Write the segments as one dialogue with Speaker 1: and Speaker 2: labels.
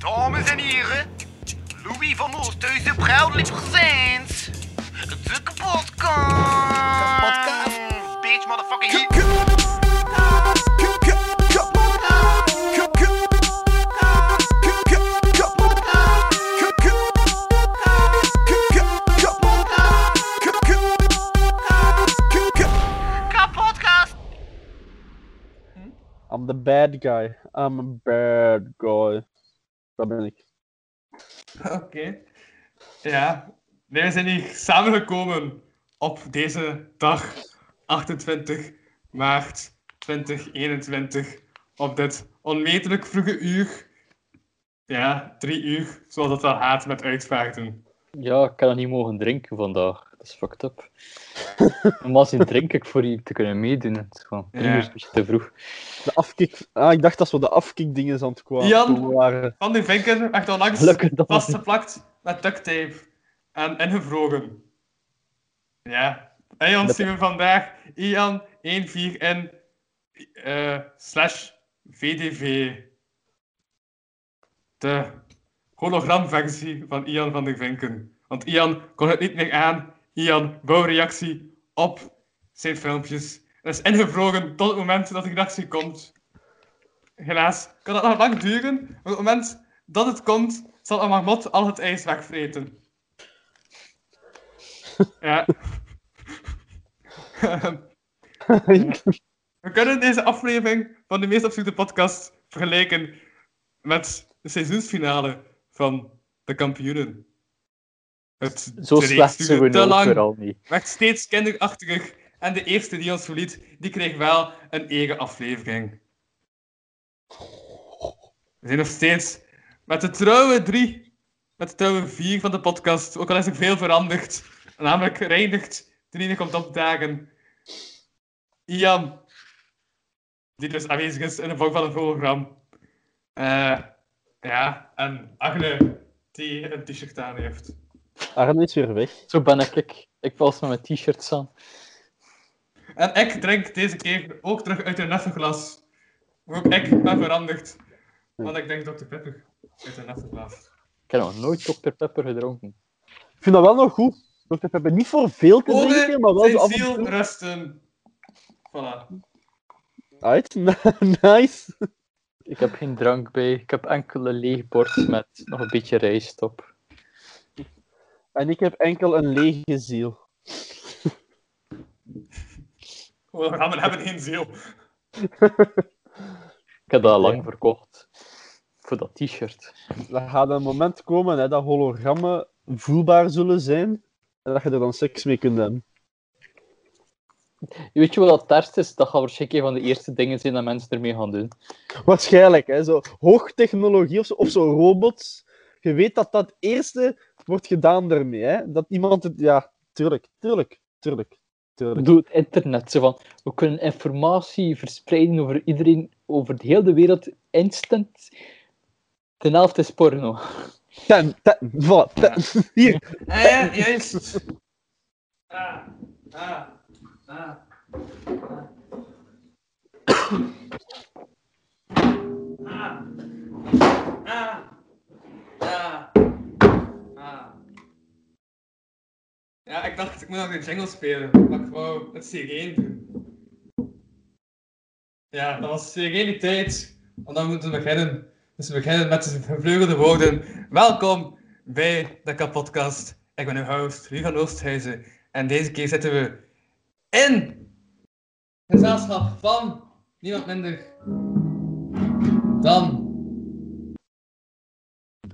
Speaker 1: Dames en heren, Louis van Oosthuizen, proudly presents de kapotkast.
Speaker 2: Kapotkast.
Speaker 1: Bitch, motherfucking
Speaker 2: K-
Speaker 1: hit.
Speaker 2: k- k- k- kapotkast. K- k- k- k- kapotkast. K- k- k- k- kapotkast. K- k- k- k-
Speaker 1: Kapotkast.
Speaker 3: I'm the bad guy. I'm a bad guy. Dat ben ik.
Speaker 4: Oké. Ja. Nee, we zijn hier samengekomen op deze dag, 28 maart 2021, op dit onmetelijk vroege uur. Ja, drie uur, zoals dat wel haat met uitvaarten.
Speaker 5: Ja, ik heb dat niet mogen drinken vandaag. Dat is fucked up. Normaal gezien drink ik voor hier te kunnen meedoen. Het is gewoon drie
Speaker 4: Ja.
Speaker 5: uur is een beetje te vroeg.
Speaker 3: De afkik. Ah, ik dacht dat we de afkikdingen aan het kwamen
Speaker 4: Jan.
Speaker 3: waren.
Speaker 4: Van die vinken werd onlangs
Speaker 5: eh, Gelukkig dat was
Speaker 4: vastgeplakt met duct tape en ingevroren. Ja. Hey, ons
Speaker 5: Dat-
Speaker 4: zien we vandaag Ian 14N eh slash VDV. De hologramversie van Ian van der Vinken. Want Ian kon het niet meer aan. Ian wou reactie op zijn filmpjes. Het is ingevroren tot het moment dat de reactie komt. Helaas kan dat nog lang duren. maar Op het moment dat het komt, zal een marmot al het ijs wegvreten. Ja. We kunnen deze aflevering van de meest absurde podcast vergelijken met de seizoensfinale van de kampioenen. Het
Speaker 5: Zo
Speaker 4: dreef
Speaker 5: slecht zijn we
Speaker 4: duurde te
Speaker 5: nu ook
Speaker 4: lang,
Speaker 5: weer al niet.
Speaker 4: werd steeds kinderachtiger en de eerste die ons verliet, die kreeg wel een eigen aflevering. We zijn nog steeds met de trouwe drie, met de trouwe vier van de podcast, ook al is er veel veranderd. Namelijk reinigt, de ene komt opdagen. Ian, die dus aanwezig is in de vorm van een hologram. Eh, ja, en Agne, die een t-shirt aan heeft.
Speaker 3: Arne is weer weg.
Speaker 5: Zo ben ik. Ik, ik was met mijn t-shirts aan.
Speaker 4: En ik drink deze keer ook terug uit een neffenglas. Ook ik ben veranderd. Want ik denk Dr. Pepper uit een neffenglas.
Speaker 5: Ik heb nog nooit Dr. Pepper gedronken.
Speaker 3: Ik vind dat wel nog goed. Want we hebben niet voor veel te
Speaker 4: Ode
Speaker 3: drinken, maar wel zo
Speaker 4: Oh,
Speaker 3: af
Speaker 4: zijn
Speaker 3: en toe.
Speaker 4: ziel rusten. Voilà.
Speaker 3: Uit. nice.
Speaker 5: Ik heb geen drank bij. Ik heb enkele leeg bord met nog een beetje rijst op.
Speaker 3: En ik heb enkel een lege ziel.
Speaker 4: Hologrammen hebben geen ziel.
Speaker 5: Ik heb dat al lang verkocht. Voor dat t-shirt.
Speaker 3: Er gaat een moment komen hè, dat hologrammen voelbaar zullen zijn. En dat je er dan seks mee kunt hebben.
Speaker 5: Weet je wat dat terst is? Dat gaat waarschijnlijk een van de eerste dingen zijn dat mensen ermee gaan doen.
Speaker 3: Waarschijnlijk, hè. Zo hoogtechnologie of zo, of zo robots. Je weet dat dat eerste wordt gedaan daarmee, hè. Dat iemand het... Ja, tuurlijk, tuurlijk, tuurlijk, tuurlijk.
Speaker 5: bedoel, het internet. Zo van, we kunnen informatie verspreiden over iedereen, over de hele wereld, instant. De helft is porno.
Speaker 3: Ten, ten, voilà, ten. Hier,
Speaker 4: Ah ja, juist. Ah, ah, ah. Ah. Ah. Ah. Ah. Ja, ik dacht, ik moet nog een jingle spelen, maar ik wou het sirene doen. Ja, dat was sereniteit, want dan moeten we beginnen. Dus we beginnen met de gevleugelde woorden. Welkom bij de Kapodcast. Ik ben uw host, Louis van Oosthuizen. En deze keer zitten we in gezelschap van niemand minder dan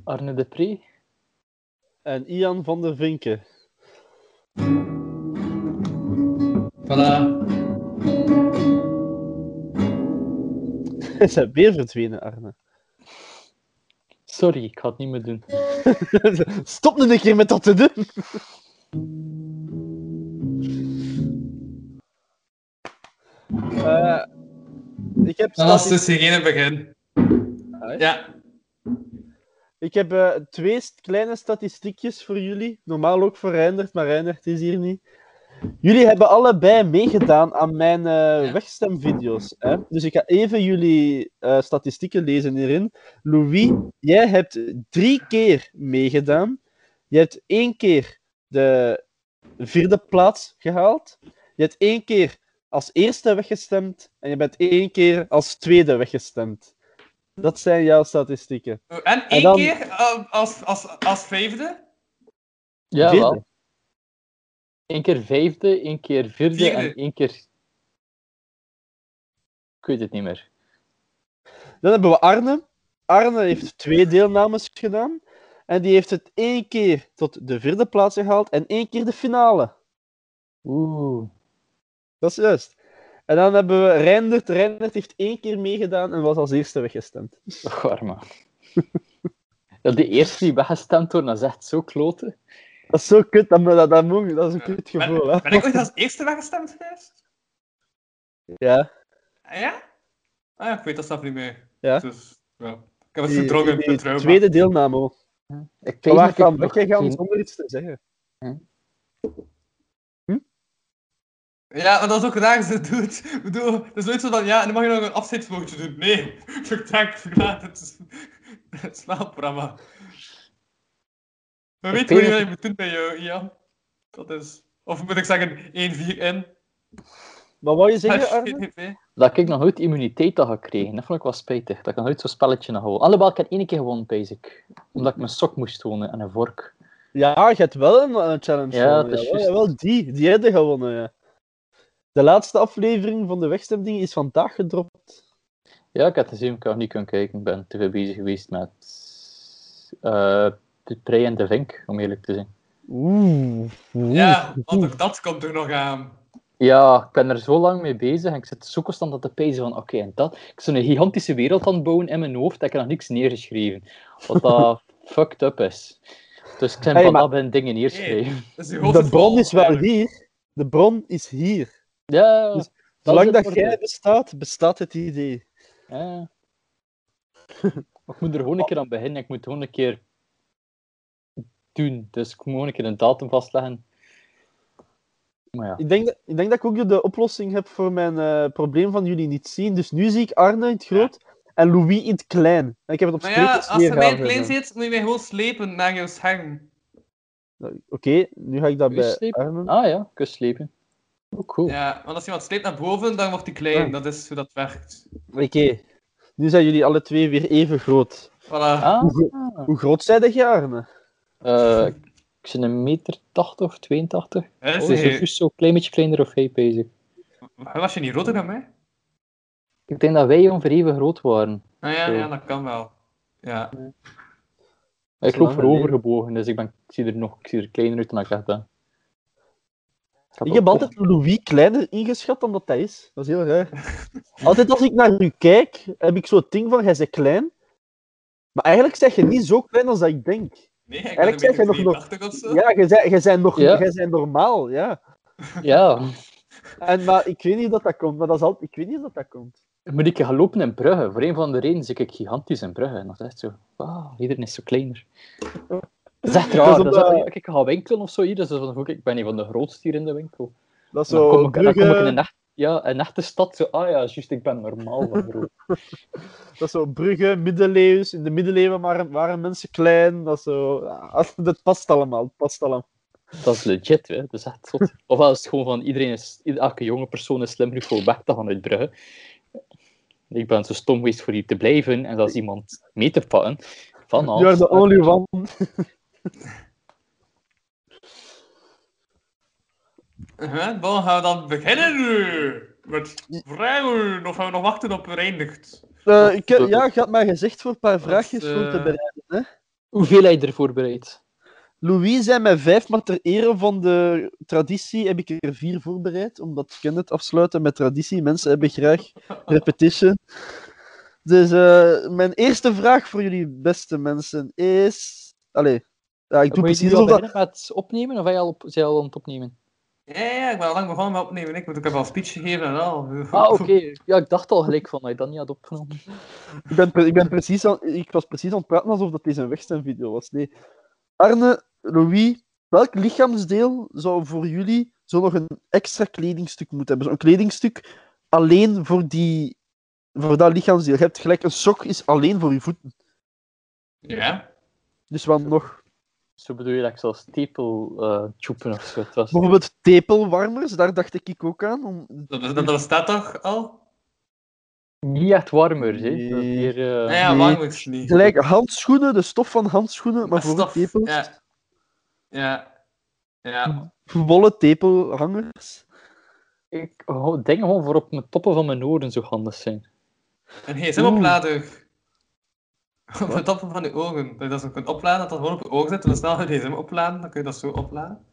Speaker 5: Arne de Pre?
Speaker 3: en Ian van der Vinken.
Speaker 4: Voilà.
Speaker 3: Is hij weer verdwenen, Arne?
Speaker 5: Sorry, ik ga het niet meer doen.
Speaker 3: Stop nu een keer met dat te doen. Eh, ik heb...
Speaker 4: Dat was dus geen begin.
Speaker 3: Ah,
Speaker 4: Ja,
Speaker 3: Ik heb eh, twee st- kleine statistiekjes voor jullie. Normaal ook voor Reindert, maar Reindert is hier niet. Jullie hebben allebei meegedaan aan mijn eh, wegstemvideo's. Hè? Dus ik ga even jullie eh, statistieken lezen hierin. Louis, jij hebt drie keer meegedaan. Je hebt één keer de vierde plaats gehaald. Je hebt één keer als eerste weggestemd. En je bent één keer als tweede weggestemd. Dat zijn jouw statistieken.
Speaker 4: En één
Speaker 3: dan-
Speaker 4: keer eh, als, als, als vijfde?
Speaker 5: Ja,
Speaker 3: Vierde.
Speaker 5: wel. Eén keer vijfde, één keer vierde,
Speaker 4: Vierde.
Speaker 5: en één keer... Ik weet het niet meer.
Speaker 3: Dan hebben we Arne. Arne heeft twee deelnames gedaan. En die heeft het één keer tot de vierde plaats gehaald en één keer de finale.
Speaker 5: Oeh.
Speaker 3: Dat is juist. En dan hebben we Reindert. Reindert heeft één keer meegedaan en was als eerste weggestemd.
Speaker 5: Och, arme. Dat de eerste die weggestemd wordt, dat is echt zo kloten.
Speaker 3: Dat is zo kut, dat, me- dat, dat, moet- dat is een kut
Speaker 4: Ben,
Speaker 3: gevoel. Hè?
Speaker 4: ben ik ooit als eerste weggestemd geweest?
Speaker 3: Ja.
Speaker 4: Ah, Ja? Ah ja, ik weet dat zelf niet meer.
Speaker 3: Ja.
Speaker 4: Dus, ja. Ik heb het
Speaker 3: Die,
Speaker 4: verdrongen
Speaker 3: die,
Speaker 4: in het trauma.
Speaker 3: tweede deelname. hoor.
Speaker 5: Ik weet
Speaker 3: Waar
Speaker 5: dat ik
Speaker 3: kan
Speaker 5: nog
Speaker 3: weggegaan
Speaker 5: geen-
Speaker 3: zonder iets te zeggen?
Speaker 4: Ja, maar dat is ook raar ze doet. Ik bedoel, het is nooit zo van, ja, en dan mag je nog een afscheidswoordje doen. Nee, vertrek, verlaat het, is- het slaapprogramma. We weten gewoon niet wat je moet doen bij jou, Ian. Dat is... Of moet ik zeggen, 1-4 in.
Speaker 3: Maar wou je
Speaker 4: Ah,
Speaker 3: zeggen, Arne?
Speaker 5: Dat ik nog nooit immuniteit had gekregen. Dat vond ik wel spijtig. Dat ik nog nooit zo'n spelletje had gewonnen. Alhoewel, ik heb één keer gewonnen, basic. Omdat ik mijn sok moest tonen en een vork.
Speaker 3: Ja, je hebt wel een, eh, challenge
Speaker 5: Ja,
Speaker 3: gewonnen,
Speaker 5: dat is
Speaker 3: jawel,
Speaker 5: juist.
Speaker 3: jawel, die. Die hebben gewonnen, ja. De laatste aflevering van de wegstemding is vandaag gedropt.
Speaker 5: Ja, ik had gezien, ik had niet kunnen kijken. Ik ben te veel bezig geweest met... eh, de prei en de vink, om eerlijk te zijn.
Speaker 3: Oeh.
Speaker 4: Ja, want ook dat komt er nog aan.
Speaker 5: Ja, ik ben er zo lang mee bezig en ik zit zo constant aan te pijzen van oké, en dat. Ik ben een gigantische wereld aan het bouwen in mijn hoofd dat ik er nog niks neergeschreven. Wat dat fucked up is. Dus ik ben
Speaker 3: Hey,
Speaker 5: vandaag ben dingen neerschrijven.
Speaker 4: Dus je hoofd
Speaker 3: De
Speaker 4: is
Speaker 3: bron
Speaker 4: vol,
Speaker 3: is wel
Speaker 4: eigenlijk.
Speaker 3: hier. De bron is hier.
Speaker 5: Ja,
Speaker 3: Dus
Speaker 5: dat is
Speaker 3: Zolang
Speaker 5: het
Speaker 3: dat
Speaker 5: voordeel.
Speaker 3: jij bestaat, bestaat het idee.
Speaker 5: Ja. ik moet er gewoon een keer aan beginnen. Ik moet het gewoon een keer doen. Dus ik moet gewoon een keer een datum vastleggen. Maar ja.
Speaker 3: Ik denk, dat, ik denk dat ik ook de oplossing heb voor mijn eh, probleem van jullie niet zien. Dus nu zie ik Arne in het groot en Louis in het klein. En ik heb het op
Speaker 4: Maar ja,
Speaker 3: spreekjes
Speaker 4: als je mij
Speaker 3: neergehaald,
Speaker 4: klein
Speaker 3: hè.
Speaker 4: zit, moet je mij gewoon slepen naar jouw scherm.
Speaker 3: Oké, nu ga ik dat
Speaker 5: Kun je
Speaker 3: bij
Speaker 5: slepen?
Speaker 3: Arne.
Speaker 5: Ah ja, kus slepen. Oh, cool.
Speaker 4: Ja, want als iemand sleept naar boven, dan wordt hij klein.
Speaker 3: Ja.
Speaker 4: Dat is hoe dat werkt.
Speaker 3: Oké. Nu zijn jullie alle twee weer even groot.
Speaker 4: Voilà.
Speaker 5: Ah,
Speaker 3: Hoe groot zijn jij, Arne?
Speaker 5: eh, ik zit een meter 80 of 82.
Speaker 4: Hè,
Speaker 5: Oh, is
Speaker 4: zeg je-
Speaker 5: het juist zo'n klein beetje kleiner of jij bezig?
Speaker 4: Waarom was je niet rood dan mij?
Speaker 5: Ik denk dat wij ongeveer even groot waren.
Speaker 4: Nou ja,
Speaker 5: Zo.
Speaker 4: ja, dat kan wel. Ja.
Speaker 5: Ik
Speaker 3: lang
Speaker 5: loop
Speaker 3: geleden.
Speaker 5: voorovergebogen, dus ik, ben, ik zie er nog ik zie er kleiner uit dan ik echt ben.
Speaker 3: Ik heb altijd Louis kleiner ingeschat dan dat hij is. Dat is heel raar. Altijd als ik naar u kijk, heb ik zo'n ding van, jij bent klein. Maar eigenlijk zeg je niet zo klein als dat ik denk.
Speaker 4: Nee, ik
Speaker 3: Eigenlijk zeg
Speaker 4: ben
Speaker 3: je
Speaker 4: een
Speaker 3: nog-
Speaker 4: beetje
Speaker 3: nog-
Speaker 4: 83 of zo.
Speaker 3: Ja, jij bent- jij bent nog,
Speaker 5: Ja.
Speaker 3: jij bent normaal, ja.
Speaker 5: Ja,
Speaker 3: En, maar ik weet niet of dat, dat komt, maar dat is altijd, ik weet niet of dat, dat komt.
Speaker 5: moet ik gaan lopen in Brugge. Voor een van de redenen zit ik gigantisch in Brugge. En dat is echt zo, wauw, iedereen is zo kleiner. Dat is echt raar.
Speaker 3: Dat is
Speaker 5: Dat is
Speaker 3: omdat-
Speaker 5: echt- ik ga winkelen of zo hier, dus dat is van, oké, ik ben een van de grootste hier in de winkel.
Speaker 3: Dat is
Speaker 5: En dan
Speaker 3: zo
Speaker 5: kom ik, dan kom ik in
Speaker 3: Brugge,
Speaker 5: een, echt, ja, een echte stad, zo, ah ja, juist, ik ben normaal van groot.
Speaker 3: dat is zo Brugge, middeleeuws. In de middeleeuwen waren, waren mensen klein. Dat, is zo, ah, dat past allemaal, het past allemaal.
Speaker 5: Dat is legit, hè. Dat is echt zot. Ofwel is het gewoon van iedereen is, ieder- elke jonge persoon is slim genoeg voor weg te gaan uit Brugge. Ik ben zo stom geweest voor hier te blijven en dat is iemand mee te pakken. Van
Speaker 3: You are the only one.
Speaker 4: Huh? Dan gaan we dan beginnen nu. Met vragen. Of gaan we nog wachten op reinigt?
Speaker 3: Eh, ik, heb- ja, je had mij gezegd voor een paar vraagjes
Speaker 4: eh,
Speaker 3: goed te bereiden. Hè?
Speaker 5: Hoeveel heb je ervoor bereid?
Speaker 3: Louis zijn mij vijf, maar ter ere van de traditie heb ik er vier voorbereid. Omdat ik kan het afsluiten met traditie. Mensen hebben graag repetition. Dus eh, mijn eerste vraag voor jullie, beste mensen, is. Allee, ja, ik doe
Speaker 5: Moet je
Speaker 3: precies
Speaker 5: nu al
Speaker 3: alsof dat.
Speaker 5: beginnen met opnemen of ben je al, op, zijn je al aan het opnemen?
Speaker 4: Ja, ja, ik ben al lang begonnen met opnemen. Ik moet ook even een speech geven en al.
Speaker 5: Ah, oké. Ja, ik dacht al gelijk van dat je dat niet had opgenomen.
Speaker 3: Ik, ben, pre- ik, ben precies aan- ik was precies aan het praten alsof dat deze een wegstemvideo was. Nee. Arne, Louis, welk lichaamsdeel zou voor jullie zo nog een extra kledingstuk moet hebben. Zo'n kledingstuk alleen voor, die, voor dat lichaamsdeel. Je hebt gelijk, een sok is alleen voor je voeten.
Speaker 4: Ja.
Speaker 3: Dus wat nog?
Speaker 5: Zo bedoel je dat ik zelfs tepel eh tjoepen of zo. Het was...
Speaker 3: Bijvoorbeeld tepelwarmers, daar dacht ik ook aan. Om...
Speaker 4: Dat, dat, dat staat toch al?
Speaker 5: Niet echt warmer, hè? Dat is
Speaker 3: Nee.
Speaker 5: meer, eh,
Speaker 4: Nou ja,
Speaker 3: nee.
Speaker 4: warmers niet.
Speaker 3: Gelijk, handschoenen, de stof van handschoenen, maar
Speaker 4: Dat
Speaker 3: voor
Speaker 4: Ah, stof,
Speaker 3: tepels.
Speaker 4: Ja. Ja. Ja.
Speaker 3: Wollen tepelhangers.
Speaker 5: Ik hou- denk gewoon voor op mijn toppen van mijn oren zo handig zijn.
Speaker 4: Een gsm-oplader. Op de toppen van je ogen. Dat is ook een oplader dat dat gewoon op je ogen zit. En dan snel je gsm opladen, dan kun je dat zo opladen.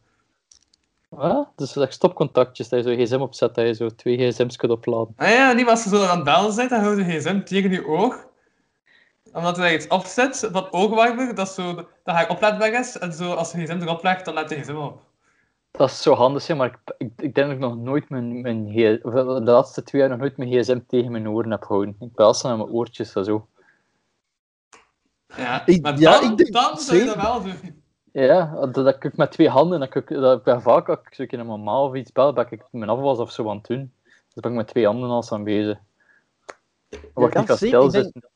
Speaker 5: Wat? Dus dat ik stopcontactjes, dat je zo'n gsm opzet, dat je zo twee gsm's kunt opladen.
Speaker 4: Ah ja, niet maar als je zo aan het bellen bent, dan houdt je gsm tegen je oog. Omdat er daar iets opzet van oogwarmer, dat, is zo, dat hij oplaadbaar is. En zo, als je gsm erop legt, dan laat je gsm op.
Speaker 5: Dat is zo handig, hè, maar ik, ik, ik denk dat ik nog nooit mijn, mijn G- of, eh, de laatste twee jaar nog nooit mijn gsm tegen mijn oren heb gehouden. Ik bel snel aan mijn oortjes en zo.
Speaker 4: Ja,
Speaker 3: Ik-
Speaker 4: maar
Speaker 3: ja,
Speaker 4: dan,
Speaker 3: ik denk-
Speaker 4: dan zou je dat
Speaker 3: zeker.
Speaker 4: wel doen.
Speaker 5: Ja, dat, dat ik met twee handen, dat ik, dat ik ben vaak als ik zo een keer naar mijn ma of iets bel, dat ik mijn afwas of zo aan het doen. Dus ben ik met twee handen als aan bezig. Wat ik
Speaker 3: kan
Speaker 5: niet kan
Speaker 3: zeker, ik denk-
Speaker 5: stilzitten.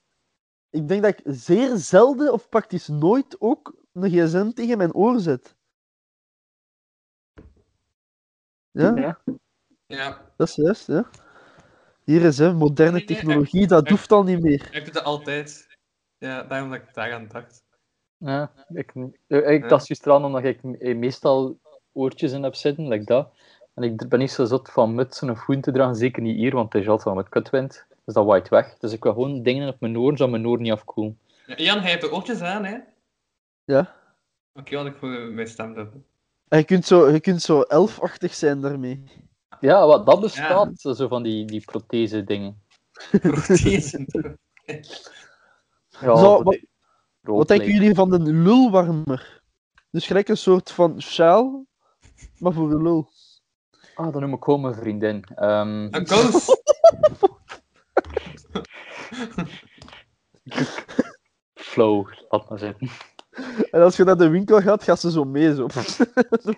Speaker 3: Ik denk dat ik zeer zelden of praktisch nooit ook een gsm tegen mijn oor zet. Ja,
Speaker 5: Ja.
Speaker 4: Ja,
Speaker 3: dat is juist, ja. Hier is hè, moderne
Speaker 4: Nee, eh, nee,
Speaker 3: technologie, dat hoeft al niet meer.
Speaker 4: ik doe dat altijd. Ja, daarom dat ik daar aan dacht.
Speaker 5: Ja, ik, eh, ik tast juist eraan omdat ik me- meestal oortjes in heb zitten, like dat. En ik ben niet zo zot van mutsen of schoenen te dragen, zeker niet hier, want het is altijd wel met kutwind. Dus dat waait weg. Dus ik wil gewoon dingen op mijn oren, zodat mijn oren niet afkoelen.
Speaker 4: Ja, Jan, hij heeft de oortjes aan, hè?
Speaker 3: Ja.
Speaker 4: Oké, had ik voor eh, mijn stem doen.
Speaker 3: En je kunt zo, je kunt zo elfachtig zijn daarmee.
Speaker 5: Ja, wat dat bestaat, zo van die, die prothese dingen.
Speaker 4: Prothesen.
Speaker 3: Zo,
Speaker 5: Ja, voor
Speaker 3: wat-
Speaker 5: die
Speaker 3: Wat denken
Speaker 5: roodlijst.
Speaker 3: jullie van de lulwarmer? Dus gelijk een soort van sjaal, maar voor de lul.
Speaker 5: Ah, dan noem ik gewoon mijn vriendin. Ehm,
Speaker 4: Een kous.
Speaker 5: flow, laat maar zitten.
Speaker 3: En als je naar de winkel gaat, gaat ze zo mee. Zo.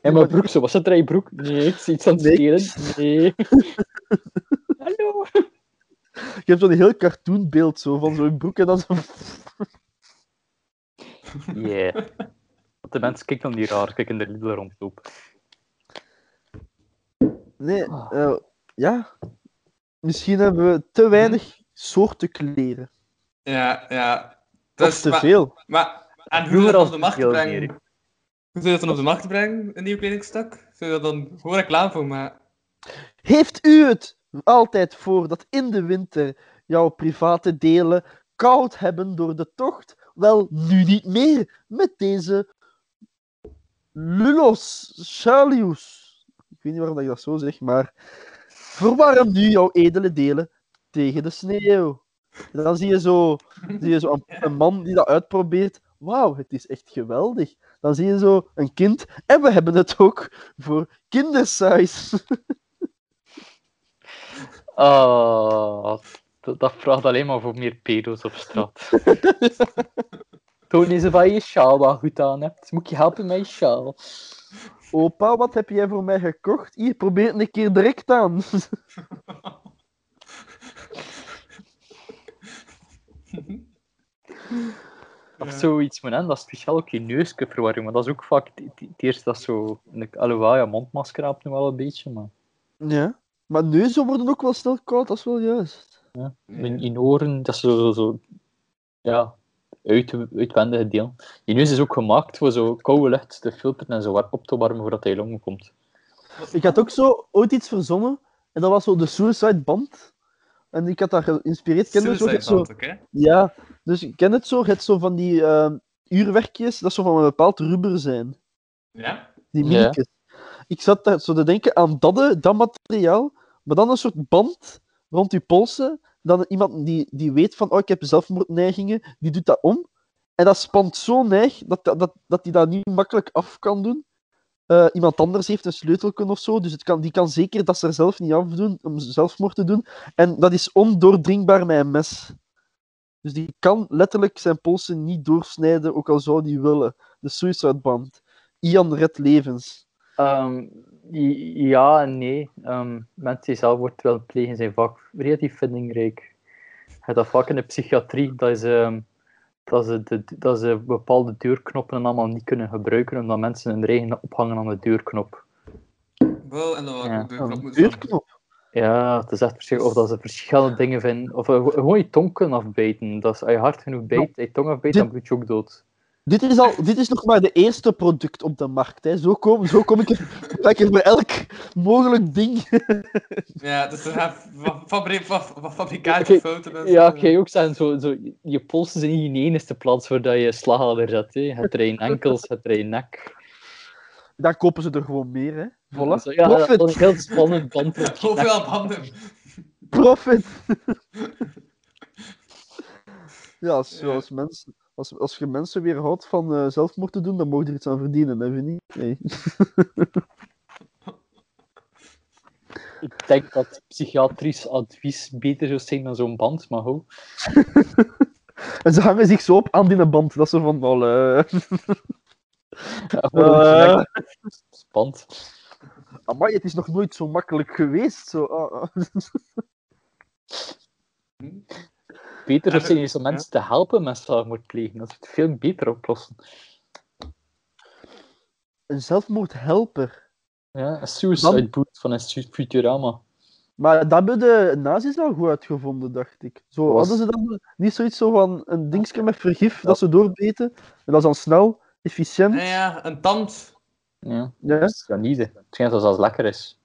Speaker 5: En mijn broek, zo, was het er aan je broek? Nee, ik zie iets aan het
Speaker 3: Nee.
Speaker 5: stelen. Nee. Hallo.
Speaker 3: Je hebt zo'n heel cartoonbeeld zo, van zo'n broek en dan zo...
Speaker 5: Yeah. Want De mensen kijken dan niet raar, kijken de Lidl rondlopen.
Speaker 3: Nee,
Speaker 5: Ah.
Speaker 3: eh, ja. Misschien hebben we te weinig soorten kleren.
Speaker 4: Ja, ja.
Speaker 3: Dat is te
Speaker 4: maar,
Speaker 3: veel.
Speaker 4: Maar, en hoe
Speaker 5: Vroeger
Speaker 4: zou je dat
Speaker 5: was
Speaker 4: op de
Speaker 5: het
Speaker 4: markt
Speaker 5: veel
Speaker 4: brengen?
Speaker 5: meer.
Speaker 4: Hoe zou je dat dan op de markt brengen, een nieuw kledingstuk? Zou je dat dan gewoon reclame voor maken?
Speaker 3: Heeft u het altijd voor dat in de winter jouw private delen koud hebben door de tocht? Wel, nu niet meer met deze Lulos Chalius. Ik weet niet waarom dat ik dat zo zeg, maar verwarm nu jouw edele delen tegen de sneeuw. En dan zie je zo, zie je zo een, een man die dat uitprobeert. Wauw, het is echt geweldig. Dan zie je zo een kind. En we hebben het ook voor kindersize.
Speaker 5: Ah, dat, dat vraagt alleen maar voor meer pedo's op straat. Toon eens wat je sjaal wel goed aan hebt. Moet ik je helpen met je sjaal?
Speaker 3: Opa, wat heb jij voor mij gekocht? Hier, probeer het een keer direct aan.
Speaker 5: Of zoiets moet hebben, dat is speciaal ook je neuskeverwarring. Maar dat is ook vaak het- het het eerste dat zo... Alhoewel, ja, mondmasker helpt nu wel een beetje, maar...
Speaker 3: Ja. Maar neuzen worden ook wel snel koud, dat is wel juist.
Speaker 5: Mijn in oren, dat is zo, zo, zo ja, uit, uitwendige deel. Je neus is ook gemaakt voor zo koude lucht te filteren en zo wat op te warmen voordat hij longen komt.
Speaker 3: Ik had ook zo ooit iets verzonnen, en dat was zo de Suicide Band. En ik had daar geïnspireerd. Ken je het zo? Je
Speaker 4: Suicide
Speaker 3: hebt zo-
Speaker 4: Band, oké?
Speaker 3: Ja, dus ik ken het zo. Je hebt zo van die ehm, uurwerkjes, dat zo van een bepaald rubber zijn.
Speaker 4: Ja?
Speaker 3: Die
Speaker 5: Ja.
Speaker 3: minnetjes. Ik zat daar zo te denken aan dat, eh, dat materiaal, maar dan een soort band rond je polsen. Dan iemand die, die weet van, oh, ik heb zelfmoordneigingen, die doet dat om. En dat spant zo neig dat dat, dat, dat die dat niet makkelijk af kan doen. Eh, iemand anders heeft een sleutelken of zo, dus het kan, die kan zeker dat ze er zelf niet af doen, om zelfmoord te doen. En dat is ondoordringbaar met een mes. Dus die kan letterlijk zijn polsen niet doorsnijden, ook al zou die willen. De suicide band. Ian redt levens.
Speaker 5: Ehm, I- Ja en nee. Ehm, mensen die zelfmoord willen plegen zijn vaak relatief vindingrijk. Je hebt dat vaak in de psychiatrie, dat is... ehm, dat ze, de, dat ze bepaalde deurknoppen allemaal niet kunnen gebruiken, omdat mensen hun eigen ophangen aan de deurknop.
Speaker 4: Wel, eh, en dan wou ik
Speaker 5: Ja.
Speaker 4: ook de knop moeten zetten.
Speaker 3: Deurknop.
Speaker 5: Ja, het is echt verschil. Of dat ze verschillende dingen vinden. Of eh, gewoon- gewoon je tong kunnen afbijten. Dat is, als je hard genoeg bijt, je tong afbijt, dan bloed je ook dood.
Speaker 3: Dit is, al, dit is nog maar de eerste product op de markt. Hè. Zo, kom, zo kom ik er, dat ik er bij elk mogelijk ding.
Speaker 4: Ja, dus er zijn fa- fabri- fa- fa-
Speaker 5: Oké,
Speaker 4: fabrikantenfouten. en zo.
Speaker 5: Ja, kan je ook zeggen, zo, zo, je polsen zijn niet in één eerste plaats voordat je slagader zet. Hè. Je hebt er één enkels, je hebt er één nek.
Speaker 3: Daar kopen ze er gewoon meer. Hè. Voilà.
Speaker 5: Zo, ja, dat
Speaker 3: Profit.
Speaker 5: dat is een heel spannend band. op je nek.
Speaker 4: Hoeveel banden?
Speaker 3: Profit. ja, als, Als, mensen, als, als je mensen weer houdt van eh, zelfmoord te doen, dan mogen je er iets aan verdienen, hè, Vinnie? Nee.
Speaker 5: Ik denk dat psychiatrisch advies beter zou zijn dan zo'n band, maar hoe?
Speaker 3: En ze hangen zich zo op aan die band, dat ze van... Wel, eh
Speaker 5: Uh. Spannend.
Speaker 3: amai, het is nog nooit zo makkelijk geweest. Zo, ah, ah.
Speaker 5: Beter zou
Speaker 4: En-
Speaker 5: zijn is om mensen te helpen met zelfmoord plegen. Dat is het veel beter oplossen.
Speaker 3: Een zelfmoordhelper.
Speaker 5: Ja, een suicide
Speaker 3: Dan-
Speaker 5: boot van een su- Futurama.
Speaker 3: Maar dat hebben de nazi's wel goed uitgevonden, dacht ik. Zo,
Speaker 5: Was-
Speaker 3: Hadden ze dan niet zoiets zo van een dingetje met vergif dat ze doorbeten? En dat is dan snel, efficiënt.
Speaker 4: Ja, ja, een tand.
Speaker 5: Ja,
Speaker 3: Ja,
Speaker 5: dat is niet. Het schijnt dat dat lekker is.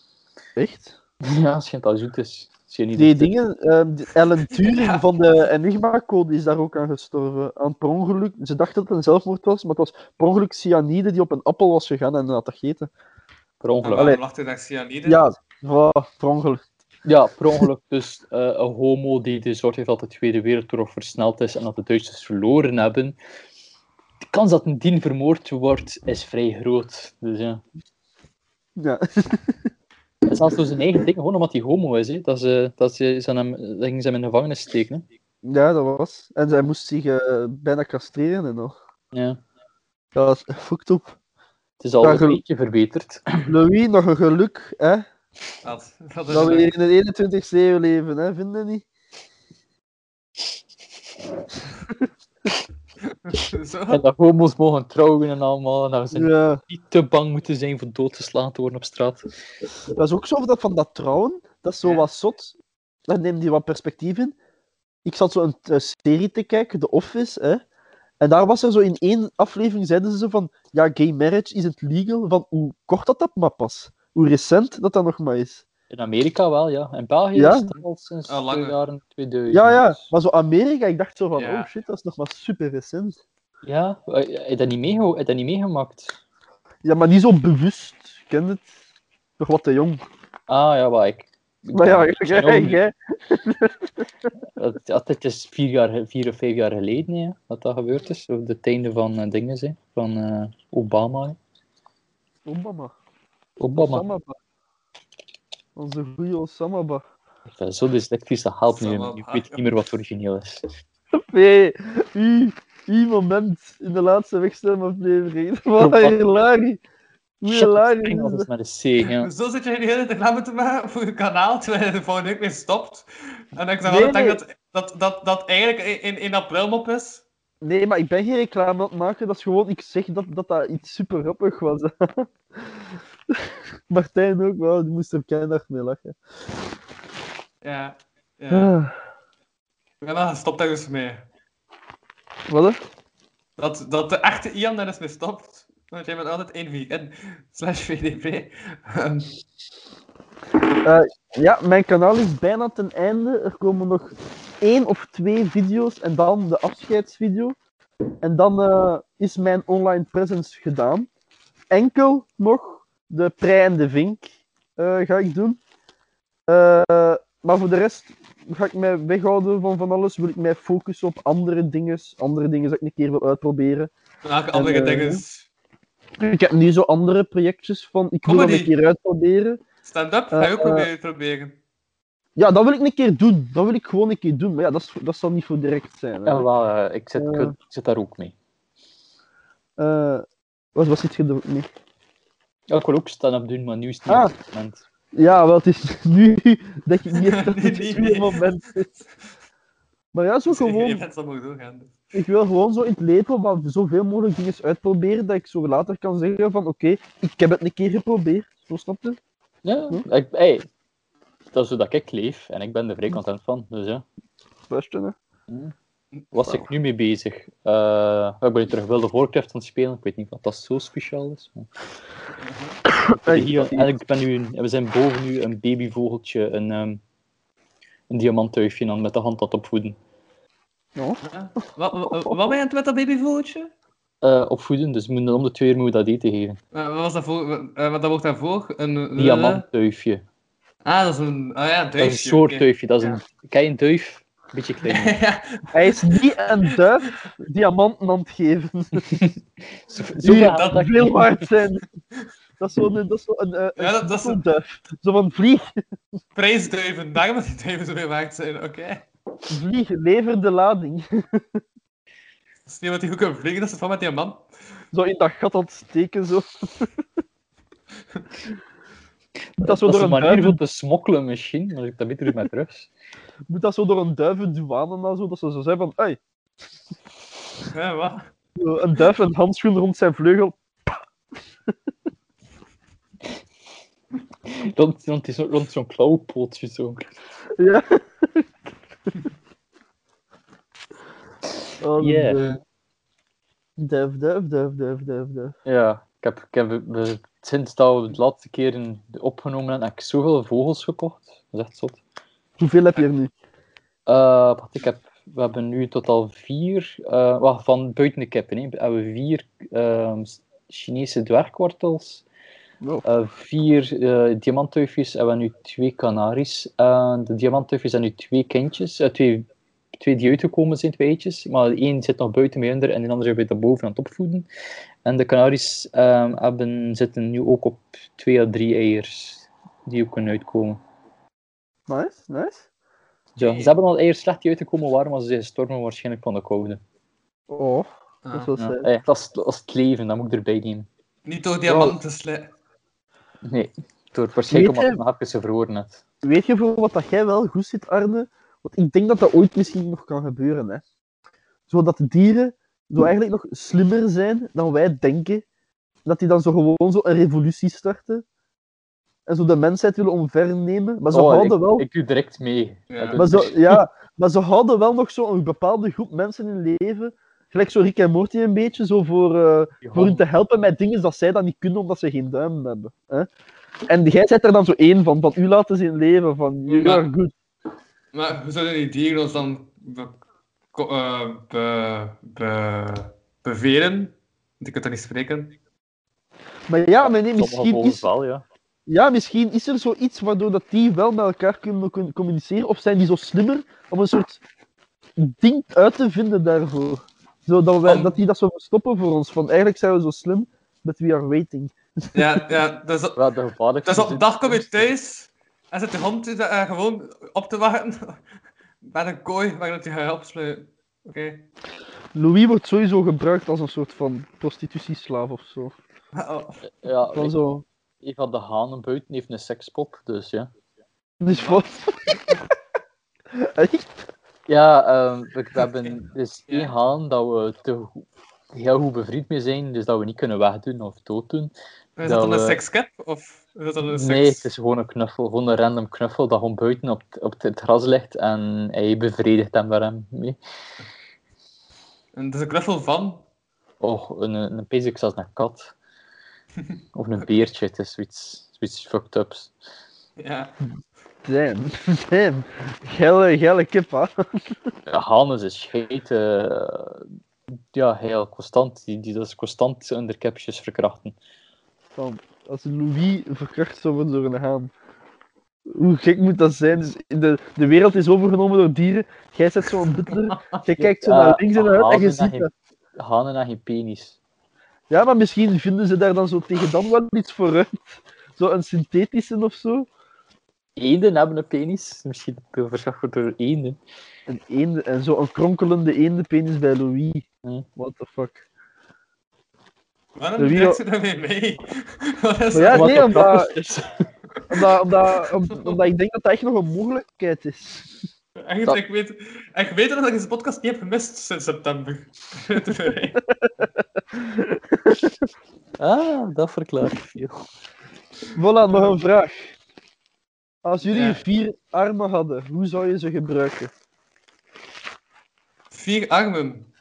Speaker 3: echt?
Speaker 5: Ja, het schijnt dat zoet is.
Speaker 3: Die dingen, ehm, die Alan Turing van de Enigma-code is daar ook aan gestorven. Aan per ongeluk, ze dachten dat het een zelfmoord was, maar het was per ongeluk cyanide die op een appel was gegaan en had dat gegeten.
Speaker 5: Per ongeluk.
Speaker 4: Waarom lacht hij daar cyanide?
Speaker 3: Ja, voilà, per ongeluk.
Speaker 5: Ja, per ongeluk. Dus eh, een homo die de zorg heeft dat de Tweede Wereldoorlog versneld is en dat de Duitsers verloren hebben. De kans dat een dien vermoord wordt, is vrij groot. Dus ja.
Speaker 3: Ja.
Speaker 5: En zelfs door zijn eigen ding, gewoon omdat hij homo is. Hè. Dat, ze, dat, ze, ze aan hem, dat gingen ze hem in de gevangenis steken. Hè.
Speaker 3: ja, dat was. En zij moest zich eh, bijna castreren en al.
Speaker 5: Ja.
Speaker 3: Ja, dat is fucked up.
Speaker 5: Het is al
Speaker 3: Ja,
Speaker 5: een
Speaker 3: geluk-
Speaker 5: beetje verbeterd.
Speaker 3: Louis, nog een geluk, hè?
Speaker 4: Dat, dat is
Speaker 3: Dat we hier in de 21ste eeuw leven, hè? Vind je niet?
Speaker 4: zo.
Speaker 5: En dat homo's mogen trouwen en allemaal. En dat ze
Speaker 3: Ja.
Speaker 5: niet te bang moeten zijn voor dood te slaan te worden op straat.
Speaker 3: Dat is ook zo dat van dat trouwen, dat is zo
Speaker 4: Ja.
Speaker 3: wat zot. Daar neemt hij wat perspectief in. Ik zat zo een eh, serie te kijken, The Office, hè. En daar was er zo in één aflevering, zeiden ze zo van, ja, gay marriage is het legal, van hoe kort dat dat maar pas. Hoe recent dat dat nog maar is.
Speaker 5: In Amerika wel, ja. In België
Speaker 3: Ja?
Speaker 5: is het al sinds
Speaker 4: Al
Speaker 5: de
Speaker 4: langer.
Speaker 5: jaren 2000.
Speaker 3: Ja, ja, maar zo Amerika, ik dacht zo van,
Speaker 4: Ja.
Speaker 3: oh shit, dat is nog maar super recent.
Speaker 5: Ja, eh, heb je dat niet, meegeho- heb je dat niet meegemaakt?
Speaker 3: Ja, maar niet zo bewust, ik ken het. Nog wat te jong.
Speaker 5: Ah, ja, maar ik...
Speaker 3: Maar ja,
Speaker 5: ik-
Speaker 3: jij, jij-
Speaker 5: Het, het- het is vier, jaar, vier of vijf jaar geleden hè, dat dat gebeurd is. Op de einde van eh, dingen, hè, van eh, Obama. hè.
Speaker 3: Obama.
Speaker 5: Obama.
Speaker 3: Osamaba. Onze goede Osamaba.
Speaker 5: Ik ben eh, zo dus dyslectisch, dat helpt niet.
Speaker 4: Obama.
Speaker 5: Ik weet niet meer wat origineel is.
Speaker 3: Nee, u, uw moment in de laatste wegstemaflevering. Dat was
Speaker 5: Verwacht.
Speaker 3: hilarisch. Hoe hilarisch is
Speaker 5: Engels is
Speaker 3: dat?
Speaker 5: met een C, ja.
Speaker 4: Zo zit je de hele reclame te maken voor je kanaal, terwijl je de volgende week weer stopt. En ik zou
Speaker 3: Nee,
Speaker 4: wel
Speaker 3: nee.
Speaker 4: denken dat, dat, dat, dat eigenlijk in- in, in april mop is.
Speaker 3: Nee, maar ik ben geen reclame aan het maken. Dat is gewoon, ik zeg dat dat, dat iets super grappig was. Martijn ook wel, die moest er keihard mee lachen.
Speaker 4: Ja. ja.
Speaker 3: Ah,
Speaker 4: En dan stopt hij dus mee.
Speaker 3: wat? hè?
Speaker 4: Dat, dat de echte Ian daar eens mee stopt. Want jij bent altijd 1VN slash VDP. Ehm,
Speaker 3: Ja, mijn kanaal is bijna ten einde. Er komen nog één of twee video's en dan de afscheidsvideo. En dan eh, is mijn online presence gedaan. Enkel nog de prei en de vink eh, ga ik doen. Eh, maar voor de rest ga ik mij weghouden van van alles. Wil ik mij focussen op andere dingen. Andere dingen dat ik een keer wil uitproberen.
Speaker 4: welke andere
Speaker 3: eh,
Speaker 4: dingen?
Speaker 3: Ik heb nu zo andere projectjes van ik wil dat een
Speaker 4: Comedy.
Speaker 3: keer uitproberen.
Speaker 4: Stand-up? Ga je ook
Speaker 3: eh,
Speaker 4: proberen proberen.
Speaker 3: Ja, dat wil ik een keer doen. Dat wil ik gewoon een keer doen. Maar ja, dat, is, dat zal niet voor direct zijn. hè.
Speaker 5: Ja, wel, eh, ik, zit,
Speaker 3: Eh.
Speaker 5: ik, ik zit daar ook mee.
Speaker 3: Eh, wat was dit gedoe? Nee.
Speaker 5: Ja, ik wil ook stand-up doen, maar nu is het niet
Speaker 3: Ah.
Speaker 5: het moment.
Speaker 3: Ja, wel, het is nu dat ik niet echt dat het
Speaker 4: Nee, nee,
Speaker 3: goede
Speaker 4: nee.
Speaker 3: moment is. Maar ja, zo
Speaker 4: Je
Speaker 3: gewoon,
Speaker 4: bent zo mogen doorgaan. dus.
Speaker 3: ik wil gewoon zo in het leven maar zoveel mogelijk dingen uitproberen dat ik zo later kan zeggen van oké, ik heb het een keer geprobeerd. Zo snap je?
Speaker 5: Ja, Hm? ik, hey, dat is hoe dat ik leef en ik ben er vrij content van. Dus ja,
Speaker 3: Best, hè?
Speaker 5: was ik nu mee bezig? Eh, ik ben terug World of Warcraft aan het spelen. Ik weet niet wat dat zo speciaal is. maar- Hier, en ik ben nu een- we zijn boven nu een babyvogeltje, een, ehm een diamanttuifje aan met de hand aan het opvoeden.
Speaker 4: Ja. Wat, wat, wat ben je aan het met dat babyvogeltje?
Speaker 5: Eh, opvoeden, dus we moeten om de twee uur moet dat eten geven.
Speaker 4: Eh, Wat was dat voor? eh, wat dat wordt daarvoor? Een eh,
Speaker 5: Diamanttuifje.
Speaker 4: Ah, dat is een. Ah ja, duifje.
Speaker 5: Dat is een soort
Speaker 4: oké.
Speaker 3: eh,
Speaker 5: duifje. Dat is een, ken je een duif? Een beetje kleiner.
Speaker 4: ja,
Speaker 3: Hij is niet een duif diamanten aan het geven.
Speaker 5: Zo-
Speaker 3: Die
Speaker 5: zoveel aandacht-
Speaker 3: dat veel waard zijn. Dat is zo'n dat is zo een, eh, een
Speaker 4: ja, dat, dat is een
Speaker 3: duif. Zo van vlieg,
Speaker 4: prijsduiven. Daarom dat die duiven zo weer waard zijn. Oké.
Speaker 3: vlieg, lever de lading.
Speaker 4: Dat is niet wat die goed kan vliegen, dat is van met die man.
Speaker 3: Zo in dat gat aan het steken, zo. Dat zo
Speaker 5: Dat is
Speaker 3: door
Speaker 5: een
Speaker 3: een
Speaker 5: manier
Speaker 3: duif
Speaker 5: van te smokkelen misschien, maar ik dat beter doe met drugs.
Speaker 3: moet dat zo door een duivendouane en dan zo, dat ze zo zijn van, hey,
Speaker 4: Ja, wat?
Speaker 3: een duif een handschoen rond zijn vleugel.
Speaker 5: Rond, rond, die zo- rond zo'n klauwpootje zo.
Speaker 3: Ja. Oh,
Speaker 5: Yeah.
Speaker 3: Duif, duif, duif, duif, duif, duif.
Speaker 5: Ja, ik heb, ik heb we- sinds dat we de laatste keer een- opgenomen hebben, heb ik zoveel vogels gekocht. Dat is echt zot.
Speaker 3: Hoeveel heb je er nu?
Speaker 5: Eh, wacht, ik heb, we hebben nu totaal vier, eh, wacht, van buiten de kippen, hè, hebben we vier ehm, Chinese dwergkwartels,
Speaker 3: Wow.
Speaker 5: eh, vier eh diamanttuifjes en we hebben nu twee kanaries. Eh, de diamanttuifjes hebben nu twee kindjes, eh, twee, twee die uitgekomen zijn, twee eitjes, maar de één zit nog buiten mee onder en de andere zit boven aan het opvoeden. En de kanaries ehm, hebben, zitten nu ook op twee à drie eiers die ook kunnen uitkomen.
Speaker 3: Nice, nice.
Speaker 5: Ja,
Speaker 4: Nee.
Speaker 5: ze hebben al eerst slecht die uitgekomen waren, maar ze zijn stormen waarschijnlijk van de koude.
Speaker 3: Oh, dat is wel
Speaker 5: Ja.
Speaker 3: saai.
Speaker 5: eh, dat, is, dat is het leven, dat moet ik erbij nemen.
Speaker 4: Niet door diamanten slijten.
Speaker 5: Nee, door waarschijnlijk
Speaker 3: Weet
Speaker 5: omdat
Speaker 3: je-
Speaker 5: ik mijn hapjes gevroren heb.
Speaker 3: Weet je voor wat dat jij wel goed zit, Arne? Want ik denk dat dat ooit misschien nog kan gebeuren, hè. Zodat de dieren zo eigenlijk nog slimmer zijn dan wij denken. Dat die dan zo gewoon zo een revolutie starten. En zo de mensheid willen omvernemen. Maar ze
Speaker 5: Oh,
Speaker 3: houden
Speaker 5: ik,
Speaker 3: wel...
Speaker 5: ik doe direct mee.
Speaker 4: Ja.
Speaker 5: Dat
Speaker 3: Maar, zo,
Speaker 5: doet-
Speaker 3: ja, maar ze houden wel nog zo'n bepaalde groep mensen in leven. Gelijk zo Rick en Morty een beetje, zo voor, eh,
Speaker 5: Ja.
Speaker 3: voor hen te helpen met dingen dat zij dan niet kunnen omdat ze geen duim hebben. Hè? En jij zet er dan zo één van, van u laten zien leven, van you
Speaker 4: Ja.
Speaker 3: are good.
Speaker 4: Maar hoe zouden die dieren ons dan be, ko- eh, be, be- bevelen? Want Ik kan dat niet spreken.
Speaker 3: Maar ja, maar nee,
Speaker 5: Sommige
Speaker 3: misschien
Speaker 5: vogels
Speaker 3: is,
Speaker 5: wel, ja.
Speaker 3: ja, misschien is er zoiets waardoor dat die wel met elkaar kunnen kun- communiceren. Of zijn die zo slimmer om een soort ding uit te vinden daarvoor. Zodat wij,
Speaker 4: Om-
Speaker 3: dat die dat zo verstoppen voor ons. Van eigenlijk zijn we zo slim, but we are waiting.
Speaker 4: Ja, ja dat is,
Speaker 5: Wel, de gevaarlijkste
Speaker 4: dat is op
Speaker 5: zijn-
Speaker 4: dag kom je thuis en zit de hond u- eh, gewoon op te wachten bij een kooi waar dat hij gaat opsluiten. Oké.
Speaker 3: Louis wordt sowieso gebruikt als een soort van prostitutieslaaf of zo.
Speaker 4: Oh,
Speaker 5: Ja,
Speaker 3: Van
Speaker 5: ik,
Speaker 3: zo.
Speaker 5: een van de hanen buiten heeft een sekspop, dus ja.
Speaker 3: Dus wat? Echt?
Speaker 5: Ja, ehm, we, we hebben dus één haan dat we te goed- heel goed bevriend mee zijn, dus dat we niet kunnen wegdoen of dooddoen.
Speaker 4: Is dat
Speaker 5: Dat
Speaker 4: dan een
Speaker 5: we-
Speaker 4: sekscap? Of is dat dan een seks...
Speaker 5: Nee, het is gewoon een knuffel, gewoon een random knuffel dat gewoon buiten op, t- op het gras ligt en hij bevredigt hem daar hem mee.
Speaker 4: En het is een knuffel van...
Speaker 5: Oh, een, een een basic zelfs een kat. Of een beertje, het is zoiets, zoiets fucked ups.
Speaker 4: Ja.
Speaker 3: Damn, damn. Gelle, gelle kippa.
Speaker 5: Ja, Hannes is scheet, eh, ja, heel constant. Die, die dat is constant onder capjes verkrachten.
Speaker 3: Van, als Louis verkracht zou worden door een haan. Hoe gek moet dat zijn? Dus de, de wereld is overgenomen door dieren. Jij zet zo'n butler. Jij kijkt zo naar
Speaker 5: Eh,
Speaker 3: links en naar rechts en je ziet
Speaker 5: hanen hebben
Speaker 3: dat.
Speaker 5: geen- Hanen en geen penis.
Speaker 3: Ja, maar misschien vinden ze daar dan zo tegen dan wel iets voor uit. Zo een synthetische of zo.
Speaker 5: Eenden hebben een penis. Misschien dat het verzorgd wordt door eenden.
Speaker 3: Een eende, en zo een kronkelende eendenpenis bij Louis.
Speaker 5: Hm.
Speaker 3: What the fuck.
Speaker 4: Waarom
Speaker 6: Rio-
Speaker 4: trekt ze daarmee mee? Wat is
Speaker 6: Maar ja,
Speaker 4: dat?
Speaker 5: Wat
Speaker 6: nee,
Speaker 5: dat
Speaker 6: omdat-
Speaker 5: grappig is.
Speaker 6: Omdat, omdat, om- omdat ik denk dat dat echt nog een mogelijkheid is.
Speaker 4: Echt,
Speaker 5: dat-
Speaker 4: Ik weet, ik weet dat ik deze podcast niet heb gemist sinds september.
Speaker 5: Ah, dat verklaart veel.
Speaker 6: Voilà, nog een vraag. Als jullie
Speaker 4: Ja.
Speaker 6: vier armen hadden, hoe zou je ze gebruiken?
Speaker 4: Vier armen.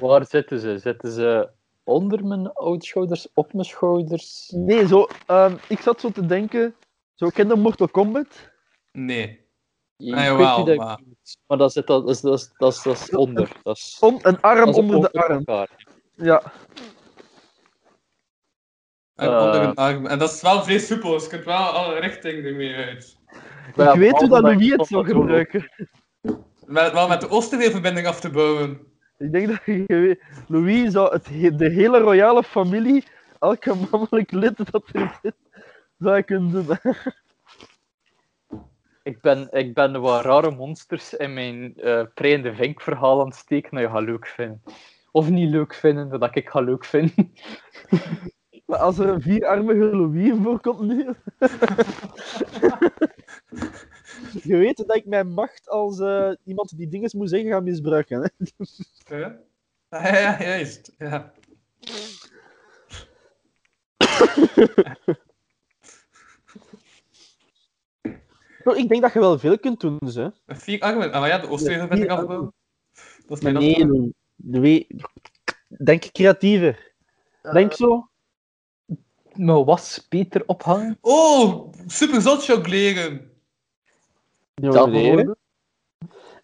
Speaker 5: Waar zitten ze? Zitten ze onder mijn schouders, op mijn schouders?
Speaker 6: Nee, zo, ehm, ik zat zo te denken. Zo, ken je Mortal Kombat?
Speaker 4: Nee.
Speaker 5: Ik
Speaker 4: Ah,
Speaker 5: weet
Speaker 4: jawel,
Speaker 5: niet dat ik-
Speaker 4: maar-
Speaker 5: maar dat, zit, dat, is, dat, is, dat, is, dat is onder. Dat is,
Speaker 6: Om, een arm
Speaker 5: dat is
Speaker 6: onder de
Speaker 5: over
Speaker 6: arm.
Speaker 5: elkaar.
Speaker 6: Ja.
Speaker 4: En
Speaker 5: Eh.
Speaker 4: onder een arm. En dat is wel vrij soepel, dus je kunt wel alle richtingen ermee uit.
Speaker 5: Ja,
Speaker 6: ik weet hoe dat
Speaker 5: behalve
Speaker 6: Louis
Speaker 5: ik
Speaker 6: het zou
Speaker 5: toch zo-
Speaker 6: gebruiken.
Speaker 4: Met, wel met de Oosterweelverbinding af te bouwen.
Speaker 6: Ik denk dat je weet- Louis zou het, he- de hele royale familie, elke mannelijk lid dat er zit, zou je kunnen doen.
Speaker 5: Ik ben, ik ben wat rare monsters in mijn eh preiende vinkverhaal aan het steken dat je gaat leuk vinden. Of niet leuk vinden, dat ik ga leuk vinden.
Speaker 6: Maar als er een vierarmige Louis in voorkomt nu.
Speaker 3: Je weet dat ik mijn macht als eh, iemand die dingen moet zeggen ga misbruiken. Hè?
Speaker 4: Hè? Ah, Ja, ja, juist. Ja.
Speaker 3: Nou, ik denk dat je wel veel kunt doen, dus, hè?
Speaker 4: Met Vier armen. Ah, maar ja, de Oosterweelverbinding
Speaker 3: vier
Speaker 4: afbouwen. Dat is
Speaker 3: Maar
Speaker 4: mijn
Speaker 3: nee,
Speaker 4: afspraak.
Speaker 3: Lou. Louis, Denk creatiever. Denk zo.
Speaker 5: Mijn was beter ophangen.
Speaker 4: Oh, super zot jongleren.
Speaker 5: dat
Speaker 3: Jongleren.
Speaker 5: hoorde.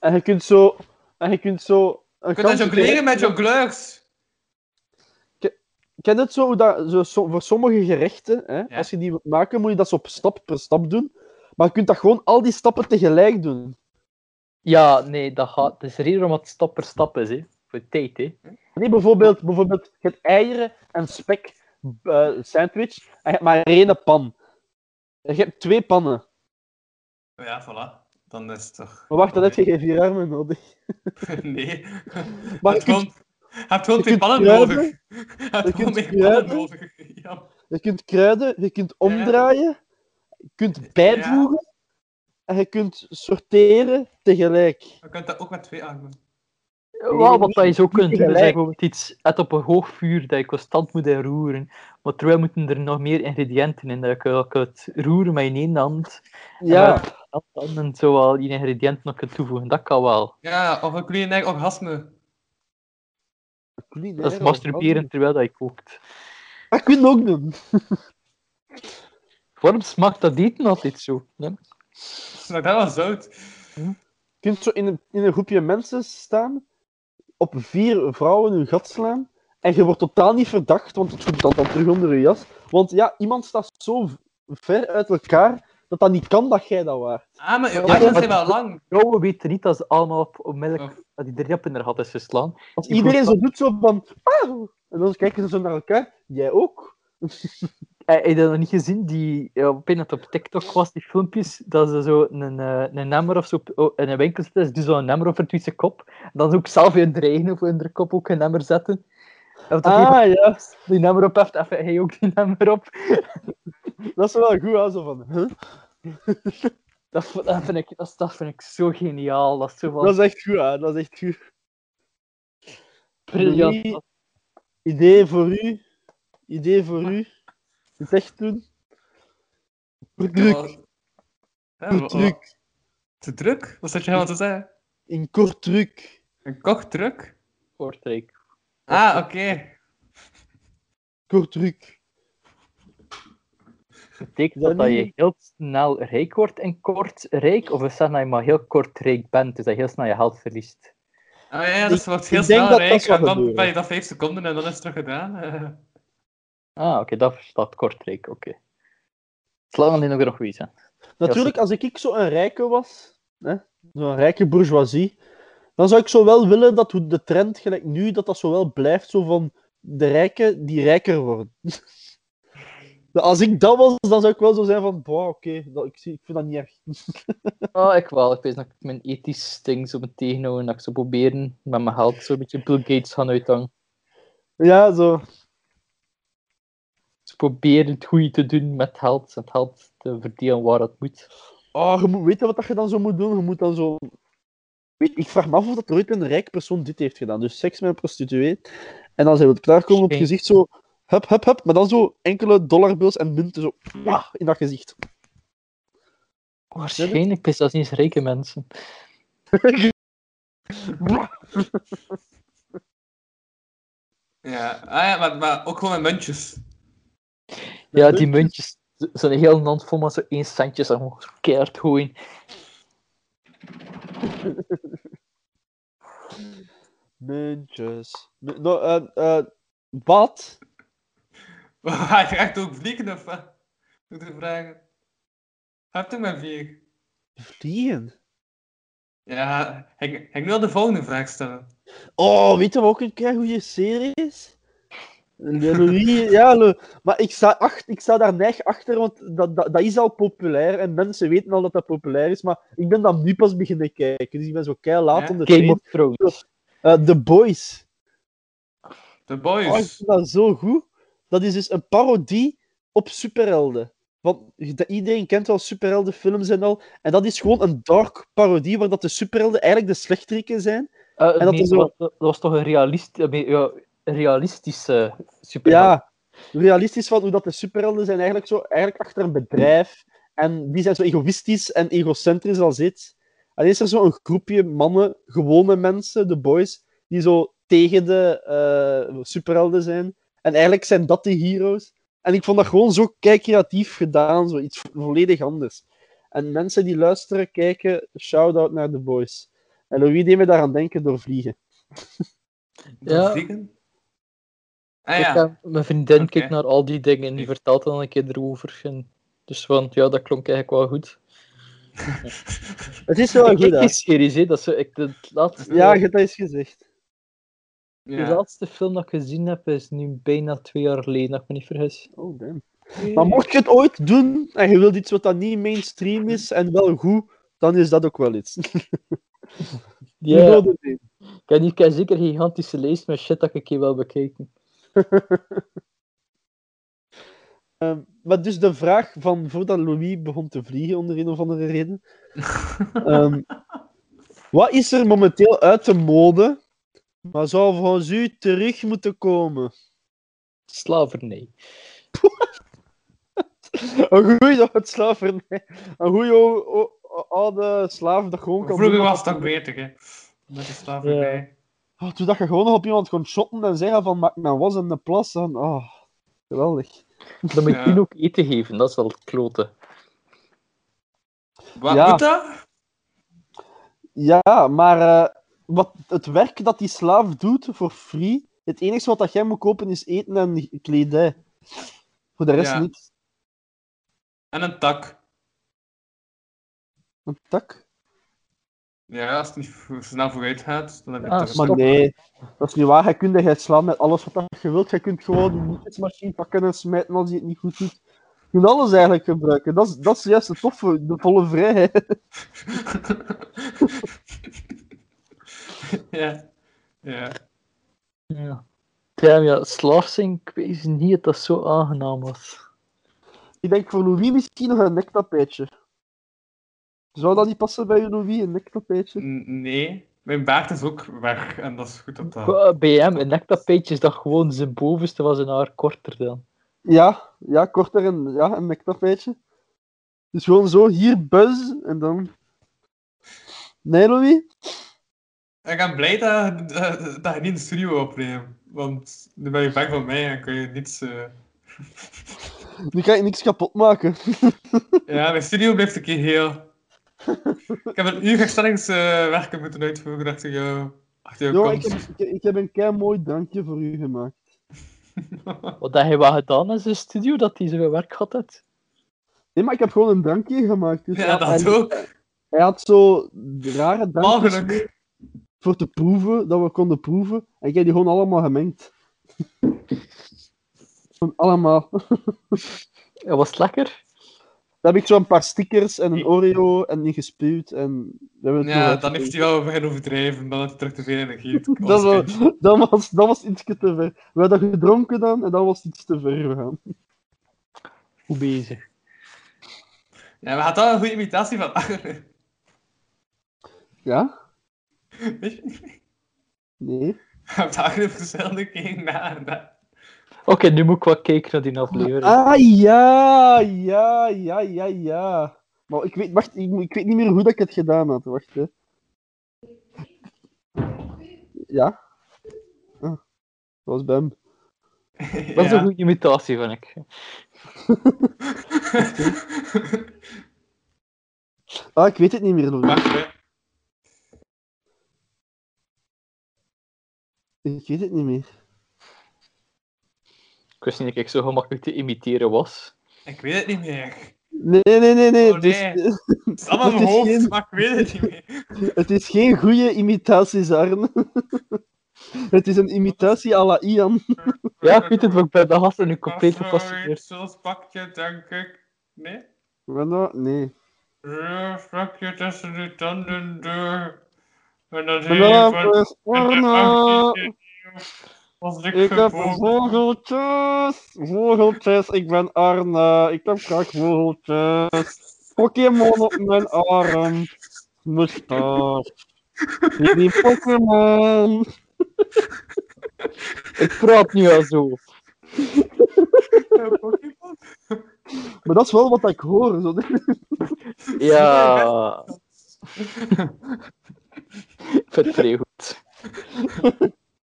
Speaker 3: En je kunt zo. En je kunt zo. Een
Speaker 4: Je kunt dat jongleren met jongleurs.
Speaker 3: Ken het zo, hoe dat, zo, so- voor sommige gerechten, hè,
Speaker 4: Ja.
Speaker 3: als je die wilt maken, moet je dat zo op stap per stap doen. Maar je kunt dat gewoon al die stappen tegelijk doen.
Speaker 5: Ja, nee, dat gaat. Het is reden waarom het stap per stap is, hè. Voor tijd, hè.
Speaker 3: Nee, bijvoorbeeld, bijvoorbeeld je hebt eieren en spek eh, sandwich, en je hebt maar één pan. En Je hebt twee pannen.
Speaker 4: Ja, voilà. Dan is het toch...
Speaker 3: Maar wacht, dan heb je geen vier armen nodig.
Speaker 4: Nee.
Speaker 3: Maar
Speaker 4: je
Speaker 3: je kunt,
Speaker 4: hebt gewoon, je hebt gewoon
Speaker 3: kunt
Speaker 4: twee ballen
Speaker 3: kruipen.
Speaker 4: nodig. Je hebt gewoon
Speaker 3: kunt
Speaker 4: twee ballen
Speaker 3: kruipen.
Speaker 4: nodig. Ja.
Speaker 3: je kunt kruiden, je kunt omdraaien, je kunt bijvoegen, en je kunt sorteren tegelijk.
Speaker 4: Je kunt dat ook met twee armen.
Speaker 5: Wel, Oh, wat dat je zo kunt doen, is
Speaker 3: tegelijk.
Speaker 5: bijvoorbeeld iets uit op een hoog vuur dat je constant moet in roeren. Maar terwijl moeten er nog meer ingrediënten in. Dat je dat je het roeren met je ene hand.
Speaker 3: Ja.
Speaker 5: En dan- dan dan zo wel je ingrediënten nog kunt toevoegen. Dat kan wel.
Speaker 4: Ja, of een culinair orgasme.
Speaker 5: Dat is masturberen terwijl dat je kookt.
Speaker 3: Dat kun je ook doen.
Speaker 5: Waarom smaakt dat eten altijd zo? Ja.
Speaker 4: Smaakt dat wel zout?
Speaker 3: Je kunt zo in een, in een groepje mensen staan, op vier vrouwen hun gat slaan, en je wordt totaal niet verdacht, want het komt dan, dan terug onder je jas. Want ja, iemand staat zo v- ver uit elkaar, dat dat niet kan dat jij dat waart.
Speaker 4: Ah, maar je
Speaker 3: Ja,
Speaker 4: armen
Speaker 5: ja,
Speaker 4: zijn wel
Speaker 5: maar-
Speaker 4: lang.
Speaker 5: Vrouwen weten niet dat ze allemaal op onmiddellijk
Speaker 4: Oh.
Speaker 5: dat die drap in haar gat is geslaan.
Speaker 3: Als iedereen zo doet, zo van... "Ah!" en dan kijken ze zo naar elkaar, jij ook.
Speaker 5: Eh, Heb je dat nog niet gezien? Die, eh, ik weet dat het op TikTok was, die filmpjes, dat ze zo een, eh, een emmer of zo op- oh, in een winkel zitten, ze doen zo'n emmer over het witte kop. En dan ze ook zelf hun dreigen of hun kop ook een emmer zetten. En dat
Speaker 3: Ah, ja.
Speaker 5: die die emmer op heeft, even hij ook die emmer op.
Speaker 3: Dat is wel goed, hè, zo van... huh?
Speaker 5: Dat, v- dat, vind ik, dat, is- dat vind ik zo geniaal. Dat is zo van
Speaker 3: Dat is echt goed, hè. Dat is echt goed.
Speaker 5: briljant.
Speaker 3: Louis, Idee voor u. Idee voor u. Het echt doen. Druk.
Speaker 4: Ja, wa- wa-
Speaker 3: Druk.
Speaker 4: Te druk? Wat zat je helemaal te zeggen?
Speaker 3: In kort druk.
Speaker 4: Een kochtruk?
Speaker 5: Kortrijk.
Speaker 4: Ah, oké.
Speaker 3: Kort druk. Is
Speaker 5: Betekent dat
Speaker 3: dat
Speaker 5: dat je
Speaker 3: niet-
Speaker 5: heel snel rijk wordt en kort rijk? Of is dat dat je maar heel kort rijk bent, dus dat je heel snel je geld verliest?
Speaker 4: Ah ja, dus wordt heel
Speaker 3: ik denk
Speaker 4: snel
Speaker 3: dat dat
Speaker 4: rijk.
Speaker 3: zal
Speaker 4: En dan
Speaker 3: gebeuren.
Speaker 4: ben je dat vijf seconden en dan is het terug gedaan. Eh,
Speaker 5: Ah, oké, dat staat kort rijk, oké. Het is lang alleen nog er nog wees, hè.
Speaker 3: Natuurlijk, als ik, ik zo'n rijke was, hè, zo'n rijke bourgeoisie, dan zou ik zo wel willen dat hoe de trend gelijk nu, dat dat zo wel blijft, zo van de rijken die rijker worden. Nou, Als ik dat was, dan zou ik wel zo zijn van, boah, oké, dat- ik, zie- ik vind dat niet erg.
Speaker 5: Oh, ik wel. Ik weet dat ik mijn ethisch ding zo moet tegenhouden. Dat ik zo proberen met mijn geld zo'n beetje Bill Gates gaan uithangen.
Speaker 3: Ja, zo.
Speaker 5: proberen het goede te doen met geld. Het geld te verdelen waar het moet.
Speaker 3: Oh, je moet weten wat dat je dan zo moet doen. Je moet dan zo. Weet, ik vraag me af of dat er ooit een rijk persoon dit heeft gedaan. Dus seks met een prostituee. En dan zijn we klaar komen op het
Speaker 5: Geen-
Speaker 3: gezicht zo. Hup, hup, hup. Maar dan zo enkele dollarbills en munten zo. wah, in dat gezicht.
Speaker 5: Waarschijnlijk is dat niet eens rijke mensen.
Speaker 4: Ja, ah, ja maar, maar ook gewoon met muntjes.
Speaker 5: Ja, die muntjes zijn heel land vol met zo één centjes en gewoon zo keihard gooien.
Speaker 3: Muntjes. Mu- Nou, eh, eh, wat?
Speaker 4: Hij gaat ook vliegen of wat? Moet je vragen. Heb toch maar vliegen?
Speaker 3: Vliegen.
Speaker 4: Ja, ik, ik wil de volgende vraag stellen.
Speaker 3: Oh, weet je wat ook een kei goede serie is? Le- Louis, ja, Le- maar ik sta, acht, ik sta daar neig achter, want dat, dat, dat is al populair en mensen weten al dat dat populair is, maar ik ben dan nu pas beginnen kijken, dus ik ben zo kei laat
Speaker 4: Ja.
Speaker 3: onder de
Speaker 5: Game
Speaker 3: train.
Speaker 5: of Thrones.
Speaker 3: Eh, The Boys.
Speaker 4: De
Speaker 3: Oh, ik
Speaker 4: boys.
Speaker 3: vind dat zo goed. Dat is dus een parodie op superhelden. Want dat- iedereen kent wel superheldenfilms en al. En dat is gewoon een dark parodie waar dat de superhelden eigenlijk de slechteriken zijn.
Speaker 5: Eh,
Speaker 3: dat
Speaker 5: nee,
Speaker 3: is
Speaker 5: dat,
Speaker 3: zo-
Speaker 5: was, dat was toch een, realist, eh, nee, ja, een realistische super.
Speaker 3: Ja, realistisch van hoe dat de superhelden zijn eigenlijk zo eigenlijk achter een bedrijf. En die zijn zo egoïstisch en egocentrisch als dit. En is er zo'n groepje mannen, gewone mensen, de boys, die zo tegen de eh, superhelden zijn. En eigenlijk zijn dat de heroes. En ik vond dat gewoon zo kei creatief gedaan, zo iets vo- volledig anders. En mensen die luisteren, kijken, shout-out naar de boys. En Louis deed me daaraan denken door vliegen.
Speaker 5: Ja.
Speaker 4: Vliegen? Ah ja.
Speaker 5: mijn vriendin
Speaker 4: Oké.
Speaker 5: kijkt naar al die dingen en die
Speaker 4: Ik-
Speaker 5: vertelt dan een keer erover. En dus van, ja, dat klonk eigenlijk wel goed.
Speaker 3: Het is wel
Speaker 5: ik
Speaker 3: goed,
Speaker 5: kijk
Speaker 3: hè?
Speaker 5: die series, hè. Dat is zo, ik, de laatste,
Speaker 3: Ja, je hebt dat eens gezegd.
Speaker 5: de
Speaker 4: ja.
Speaker 5: laatste film dat ik gezien heb is nu bijna twee jaar geleden, als ik me niet vergis.
Speaker 3: Oh, damn. Maar mocht je het ooit doen en je wilt iets wat dan niet mainstream is en wel goed, dan is dat ook wel iets.
Speaker 5: Ja,
Speaker 3: You know the name.
Speaker 5: ik heb hier- ik heb zeker een gigantische lijst met shit dat ik een keer wil bekijken.
Speaker 3: Ehm, maar dus de vraag van voordat Louis begon te vliegen onder een of andere reden. Ehm, wat is er momenteel uit de mode, maar zou volgens u terug moeten komen?
Speaker 5: Slavernij.
Speaker 3: Een goeie het slavernij. Een goeie o- o- oude slaaf dat gewoon kan
Speaker 4: Vroeger
Speaker 3: doen wat
Speaker 4: was het
Speaker 3: hij
Speaker 4: toch beter, hè? Met de slavernij.
Speaker 3: Oh, toen dat je gewoon nog op iemand kon shotten en zeggen van maak mijn was en de plas. En, oh, geweldig.
Speaker 5: Dan moet je
Speaker 4: Ja.
Speaker 5: hun ook eten geven, dat is wel het klote.
Speaker 4: Wat
Speaker 3: Ja.
Speaker 4: moet dat?
Speaker 3: Ja, maar eh, wat, het werk dat die slaaf doet voor free, het enige wat dat jij moet kopen is eten en kledij. Voor de rest
Speaker 4: Ja.
Speaker 3: niets.
Speaker 4: En een tak.
Speaker 3: Een tak?
Speaker 4: Ja, als het niet v- snel vooruit gaat, dan heb je
Speaker 5: Ah,
Speaker 4: toch een
Speaker 5: maar
Speaker 4: tak.
Speaker 3: Maar nee, dat is niet waar. Jij kunt jij slaan met alles wat dat je wilt. Je kunt gewoon die nietjesmachine pakken en smijten als je het niet goed doet. Je kunt alles eigenlijk gebruiken. Dat is, dat is juist het toffe, de volle vrijheid.
Speaker 4: ja. Ja.
Speaker 5: Ja. Damn, ja, slaaf zijn, ik weet niet dat dat zo aangenaam was.
Speaker 3: Ik denk voor Louis misschien nog een nektapijtje. Zou dat niet passen bij je Louis, een nektapijtje?
Speaker 4: N- Nee. Mijn baard is ook weg en dat is goed dat dat.
Speaker 5: Qua- Bij hem, eh, een nektapijtje is dat gewoon zijn bovenste was een haar korter dan.
Speaker 3: Ja, ja, korter en ja, een nektapijtje. Dus gewoon zo, hier buzz en dan. Nee, Louis?
Speaker 4: Ik ben blij dat, dat, dat je niet in de studio opneemt. Want nu ben je bang van mij en kun je niets. eh,
Speaker 3: Nu kan je niks kapot maken.
Speaker 4: Ja, mijn studio blijft een keer heel. Ik heb een uur herstellingswerken moeten uitvoeren achter jou. Achter jouw
Speaker 3: Jo, ik,
Speaker 4: komst.
Speaker 3: heb, ik, ik heb een kei mooi drankje voor u gemaakt.
Speaker 5: Wat dat hij wel gedaan is in de studio, dat hij zijn werk had. Het.
Speaker 3: Nee, maar ik heb gewoon een drankje gemaakt. Dus
Speaker 4: Ja,
Speaker 3: hij- hij,
Speaker 4: dat ook.
Speaker 3: Hij had zo rare drankjes
Speaker 4: Mogelijk.
Speaker 3: voor te proeven, dat we konden proeven. En ik heb die gewoon allemaal gemengd. Gewoon allemaal.
Speaker 5: Dat was het lekker.
Speaker 3: Dan heb ik zo een paar stickers en een Oreo en ingespuwd. En we hebben het nog
Speaker 4: Ja, dan
Speaker 3: uitgeprobeerd.
Speaker 4: heeft hij wel begin overdreven. Dan had hij terug te veel energie.
Speaker 3: Dat was, dat, was, dat was ietsje te ver. We hadden gedronken dan en dan was het iets te ver gegaan.
Speaker 5: Goed bezig.
Speaker 4: Ja, maar had dat een goede imitatie van Agger?
Speaker 3: Ja?
Speaker 4: Weet je niet?
Speaker 3: Nee?
Speaker 4: Heb Agger dezelfde keer na na-
Speaker 5: Oké, nu moet ik wat kijken naar die aflevering.
Speaker 3: Ah, ja, ja, ja, ja, ja. Maar ik weet, wacht, ik, moet- ik weet niet meer hoe dat ik het gedaan had. Wacht, hè. Ja? Ah, dat was bij hem.
Speaker 5: Dat is
Speaker 4: Ja.
Speaker 5: een goede imitatie, vind ik.
Speaker 3: Ah, ik weet het niet meer, Louis.
Speaker 4: Wacht, hè.
Speaker 3: Ik weet het niet meer.
Speaker 5: Ik wist niet dat ik zo gemakkelijk te imiteren was.
Speaker 4: Ik weet het niet meer.
Speaker 3: Nee, nee, nee, nee.
Speaker 4: Oh,
Speaker 3: het is-
Speaker 4: nee. Het is allemaal in mijn
Speaker 3: Dat is
Speaker 4: hoofd,
Speaker 3: geen-
Speaker 4: maar ik weet het niet meer.
Speaker 3: Het is geen goede imitatie, Zarn. Het is een imitatie à la Ian.
Speaker 5: Ja, ik weet het, maar ik ben de gasten
Speaker 4: Oh,
Speaker 5: nu compleet
Speaker 4: Afgewerkt
Speaker 5: gefascineerd.
Speaker 4: zulspakje, eh, denk ik. Nee?
Speaker 3: Wat nou? Nee.
Speaker 4: Rufpakje tussen de tanden door. En dan zie je van...
Speaker 3: Blampjes, Orna,
Speaker 4: Als ik
Speaker 3: ik heb
Speaker 4: geboren...
Speaker 3: vogeltjes. Vogeltjes, ik ben Arne. Ik heb graag vogeltjes. Pokémon op mijn arm. Mustache. Die Pokémon.
Speaker 5: Ik praat nu al zo.
Speaker 4: Pokémon?
Speaker 3: Maar dat is wel wat ik hoor. Zo.
Speaker 5: Ja. ik vind het vrij goed.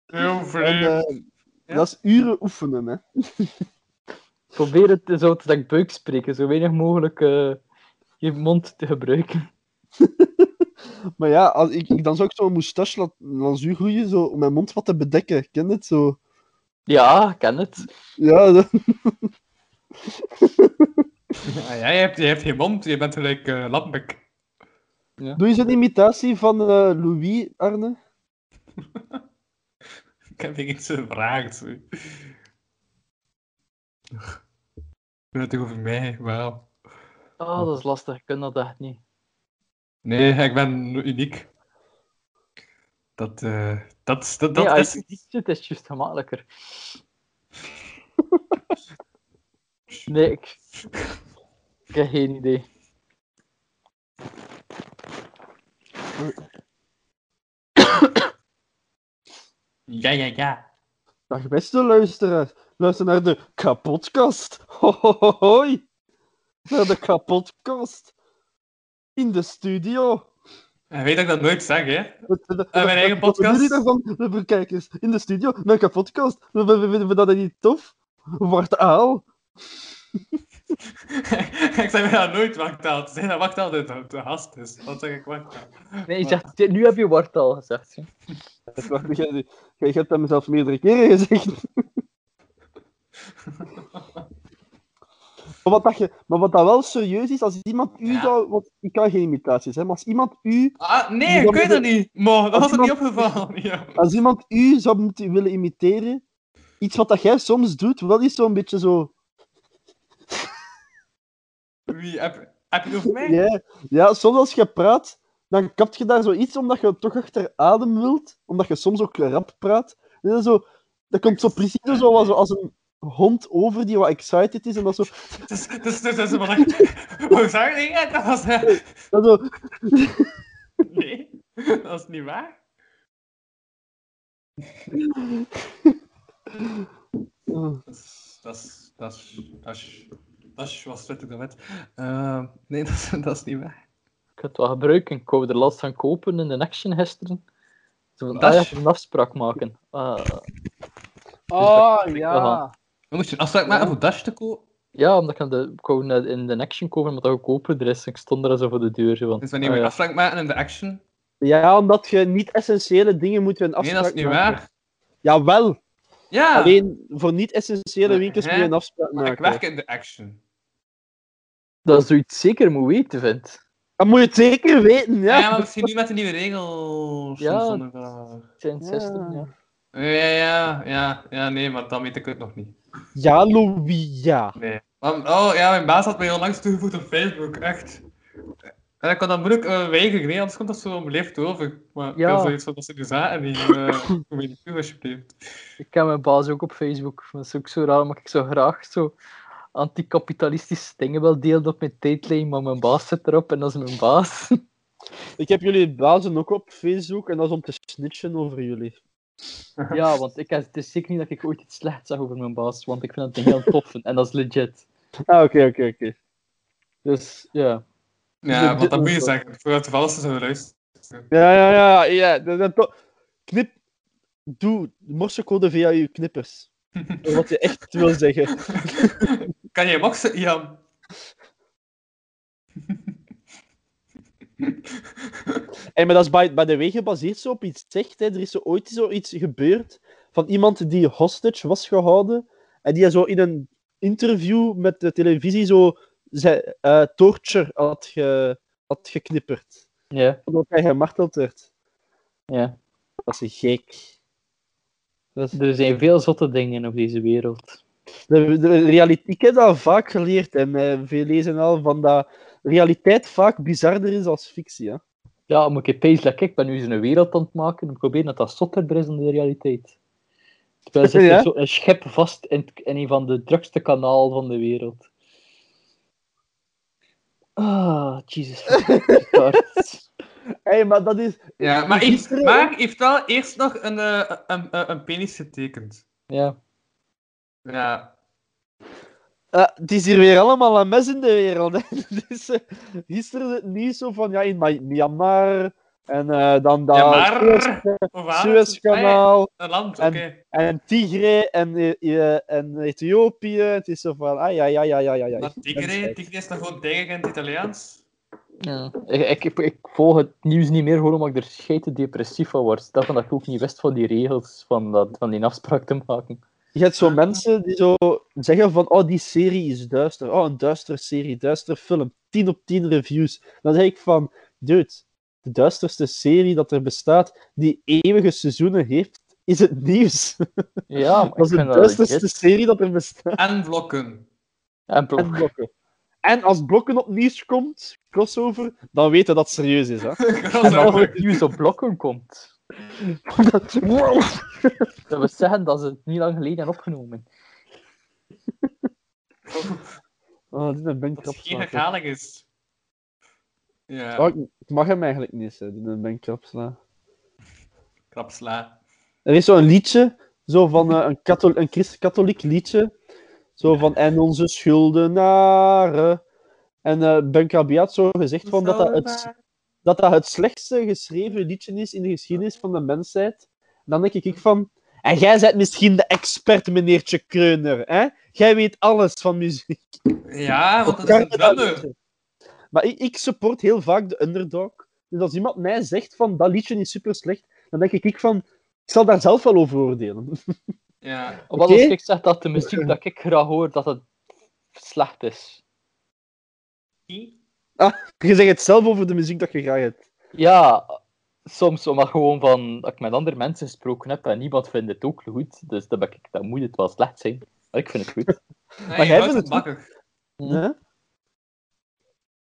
Speaker 4: Heel
Speaker 3: En,
Speaker 4: vreemd.
Speaker 3: eh, Dat is uren oefenen, hè.
Speaker 5: Ik Probeer het zo te dat ik buik spreken, zo weinig mogelijk eh, je mond te gebruiken.
Speaker 3: Maar ja, als ik, ik dan zou ik zo'n moustache laat- langs u groeien, zo, om mijn mond wat te bedekken. Ken je het zo?
Speaker 5: Ja, ik ken het.
Speaker 3: Ja, dat-
Speaker 4: Ah, Ja, jij, hebt, jij hebt geen mond, je bent gelijk eh Lambek.
Speaker 3: doe eens een imitatie van eh, Louis, Arne.
Speaker 4: Ik heb je iets gevraagd. zo. Ik weet het over mij, wauw.
Speaker 5: Ah, dat is lastig, ik kan dat echt niet.
Speaker 4: Nee, ik ben uniek. Dat, eh dat, is- dat, dat,
Speaker 5: nee,
Speaker 4: is...
Speaker 5: als je niet doet, is het juist gemakkelijker. nee, ik... ik heb geen idee.
Speaker 4: Ja, ja, ja.
Speaker 3: Dag beste luisteraars, luister naar de kapotkast. Ho, ho, ho, hoi. Naar de kapotkast. In de studio.
Speaker 4: En weet dat ik dat nooit zeg, hè?
Speaker 3: We- we- we-
Speaker 4: Eh, mijn eigen
Speaker 3: wat- wat bedoel
Speaker 4: podcast?
Speaker 3: je daarvan? We bekijken eens in de studio, mijn kapotkast. We- we- we- Vinden we dat niet tof? Wart aal.
Speaker 4: ik zeg mij dat nooit, wachttaal. Ze zeggen dat wachttaal de, de, de gast is. Dan zeg ik wachttaal.
Speaker 5: Nee, je zegt, nu heb je wartaal gezegd. hè.
Speaker 3: Wacht, jij- jij hebt dat mezelf meerdere keren gezegd. maar, wat dat je, maar wat dat wel serieus is, als iemand u
Speaker 4: Ja.
Speaker 3: zou... Want ik kan geen imitaties, hè, maar als iemand u,
Speaker 4: Ah,
Speaker 3: Je
Speaker 4: nee, ik
Speaker 3: kan
Speaker 4: weet
Speaker 3: met
Speaker 4: dat niet. Maar
Speaker 3: Als
Speaker 4: dat was het niet
Speaker 3: iemand-
Speaker 4: opgevallen. Ja.
Speaker 3: als iemand u zou moeten willen imiteren, iets wat dat jij soms doet, wel is zo'n beetje zo...
Speaker 4: Wie, heb, heb je het over mij?
Speaker 3: Ja, ja, soms als je praat, dan kapt je daar zoiets omdat je toch achter adem wilt, omdat je soms ook rap praat. En dat, is zo, dat komt zo precies zo als, als een hond over die wat excited is en dat zo...
Speaker 4: Het is, het is, het is wat ik... Hoe zou je dingen? Dat was... eh,
Speaker 3: Dat zo
Speaker 4: Nee, dat is niet waar.
Speaker 3: eh.
Speaker 4: Dat is... Dat is... Dat is... Dat is... Dat is was ik dat met. Eh, nee, dat is, dat is niet waar.
Speaker 5: Ik ga het wel gebruiken. Ik wou er laatst gaan kopen in de Action gisteren. Zo van,
Speaker 4: Dat
Speaker 5: ah, ja,
Speaker 4: is-
Speaker 5: ik moet een afspraak maken. Ah,
Speaker 3: Oh
Speaker 5: ja.
Speaker 4: Dan moet je een afspraak maken voor Dash te kopen.
Speaker 5: ja, omdat ik, aan de, ik wou net in de Action kopen, maar dat goedkoper is. Ik stond er zo voor de deur. Zo van,
Speaker 4: Dus wanneer
Speaker 3: Oh,
Speaker 5: ah,
Speaker 4: we een
Speaker 5: ja.
Speaker 4: afspraak maken in de action.
Speaker 3: Ja, omdat je niet-essentiële dingen moet je een
Speaker 4: Nee,
Speaker 3: afspraak
Speaker 4: dat is niet
Speaker 3: maken.
Speaker 4: waar.
Speaker 3: Jawel,
Speaker 4: Ja,
Speaker 3: alleen voor niet-essentiële winkels
Speaker 4: Hè?
Speaker 3: moet je een afspraak
Speaker 4: maar ik
Speaker 3: maken.
Speaker 4: werk in de action.
Speaker 5: Dat is zoiets zeker moet weten, vindt.
Speaker 3: Dat moet je het zeker weten,
Speaker 4: Ja,
Speaker 3: ja.
Speaker 4: maar misschien nu met de nieuwe regels.
Speaker 5: Ja.
Speaker 4: van zondag.
Speaker 5: Het zijn
Speaker 3: Ja.
Speaker 5: 60, ja.
Speaker 4: Ja, ja, ja, ja, nee, maar dan weet ik het nog niet.
Speaker 3: Ja, Louis, ja.
Speaker 4: Nee. Want- oh ja, mijn baas had mij onlangs toegevoegd op Facebook, echt. En ik kon dat moeilijk uh, weigeren, nee, anders komt dat zo beleefd over. Maar ik
Speaker 5: Ja.
Speaker 4: had zoiets van, dat ze nu zaten en die eh, kom je niet toe, alsjeblieft.
Speaker 5: Ik ken mijn baas ook op Facebook. Dat is ook zo raar, maar ik zou graag zo... anticapitalistische dingen wel deelde op mijn tijdlijn, maar mijn baas zit erop en dat is mijn baas.
Speaker 3: Ik heb jullie bazen ook op Facebook en dat is om te snitchen over jullie.
Speaker 5: ja, want ik, het is zeker niet dat ik ooit iets slechts zeg over mijn baas, want ik vind dat ding heel tof en dat is legit.
Speaker 3: Ah, oké, oké, oké.
Speaker 5: Dus ja,
Speaker 4: Ja, want dat moet
Speaker 3: oh.
Speaker 4: je zeggen. Voordat de valse zouden luisteren.
Speaker 3: Ja, ja, ja, ja. dat- dat- dat- knip. Doe morsecode via je knippers. Wat je echt wil zeggen.
Speaker 4: Kan jij boksen, Ian?
Speaker 3: En maar dat is bij, bij de weg gebaseerd zo op iets echt. Hè. Er is zo ooit zoiets gebeurd van iemand die hostage was gehouden. En die zo in een interview met de televisie zo zei, eh, torture had, ge, had geknipperd.
Speaker 5: ja,
Speaker 3: Omdat hij gemarteld werd.
Speaker 5: ja. Dus
Speaker 3: Dat is gek.
Speaker 5: Er zijn veel zotte dingen op deze wereld.
Speaker 3: De, de realiteit, ik heb dat vaak geleerd en eh, veel lezen al van dat realiteit vaak bizarder is als fictie. Hè?
Speaker 5: Ja, moet ik pees like ik ben nu eens een wereld aan het maken en probeer dat dat zotterder is dan de realiteit. Terwijl zit
Speaker 3: Ja.
Speaker 5: er zo een schep vast in, het- in een van de drukste kanalen van de wereld. Ah, Jesus. fucking Christ.
Speaker 3: Hey, maar dat is.
Speaker 4: Ja, maar heeft, maar heeft wel eerst nog een, eh, een, een, een penis getekend.
Speaker 5: ja.
Speaker 4: Ja.
Speaker 3: eh, het is hier weer allemaal een mes in de wereld. Hè? Dus, eh, gisteren het nieuws zo van ja, in Mi- Myanmar en eh, dan dat
Speaker 4: Ja, maar-
Speaker 3: Suez-
Speaker 4: Of waar?
Speaker 3: Suezkanaal
Speaker 4: Ah, ja, een land, oké.
Speaker 3: En- en Tigray en, eh, eh, en Ethiopië. Het is zo van ah ja, ja, ja, ja, ja. ja.
Speaker 4: Maar Tigre, Tigre is dan gewoon tegen in het Italiaans?
Speaker 5: Ja. Ik, ik, ik volg het nieuws niet meer gewoon omdat ik er scheiden depressief van word. Dat van dat ik ook niet wist van die regels, van, dat, van die afspraak te maken.
Speaker 3: Je hebt zo mensen die zo zeggen van, oh, die serie is duister. Oh, een duistere serie, duister film. 10 op 10 reviews. Dan zeg ik van, dude, de duisterste serie dat er bestaat, die eeuwige seizoenen heeft, is het nieuws.
Speaker 5: Ja, maar
Speaker 3: Dat is
Speaker 5: ik
Speaker 3: de
Speaker 5: vind dat
Speaker 3: duisterste
Speaker 5: legit.
Speaker 3: serie dat er bestaat.
Speaker 4: En blokken.
Speaker 5: En
Speaker 3: En
Speaker 5: blok.
Speaker 3: blokken. En als blokken op nieuws komt, crossover, dan weten dat het serieus is. Hè?
Speaker 5: En als
Speaker 4: Crossover.
Speaker 5: het nieuws op blokken komt.
Speaker 3: Wow.
Speaker 5: Dat we zeggen dat ze het niet lang geleden hebben opgenomen.
Speaker 3: Oh, dit is een
Speaker 4: Dat het geen
Speaker 3: bankkrapsla.
Speaker 4: herhaling is. Ja,
Speaker 3: Oh, ik- ik mag hem eigenlijk niet, hè. dit is een bankkrapsla.
Speaker 4: krapsla.
Speaker 3: Er is zo'n liedje, zo van eh, een, kathol een christelijk liedje. Zo van, en onze schuldenaren. En eh Ben Kabi had zo gezegd van dat, dat, het, dat dat het slechtste geschreven liedje is in de geschiedenis van de mensheid. En dan denk ik van, en jij bent misschien de expert, meneertje Kreuner. Hè? Jij weet alles van muziek.
Speaker 4: Ja, want dat is een drummer.
Speaker 3: Maar ik, ik support heel vaak de underdog. Dus als iemand mij zegt van, dat liedje is super slecht, dan denk ik van, ik zal daar zelf wel over oordelen.
Speaker 4: Ja.
Speaker 5: Wat
Speaker 3: Oké.
Speaker 5: als ik zeg dat de muziek dat ik graag hoor, dat het slecht is?
Speaker 3: Je zegt het zelf over de muziek dat je graag hebt.
Speaker 5: Ja, soms omdat gewoon van dat ik met andere mensen gesproken heb en niemand vindt het ook goed. Dus dan, ben ik, dan moet het wel slecht zijn. Maar ik vind het goed.
Speaker 4: Nee,
Speaker 3: jij
Speaker 4: je houdt
Speaker 3: vindt
Speaker 4: het
Speaker 3: het goed.
Speaker 4: makkelijk.
Speaker 5: Ja.
Speaker 3: Hè?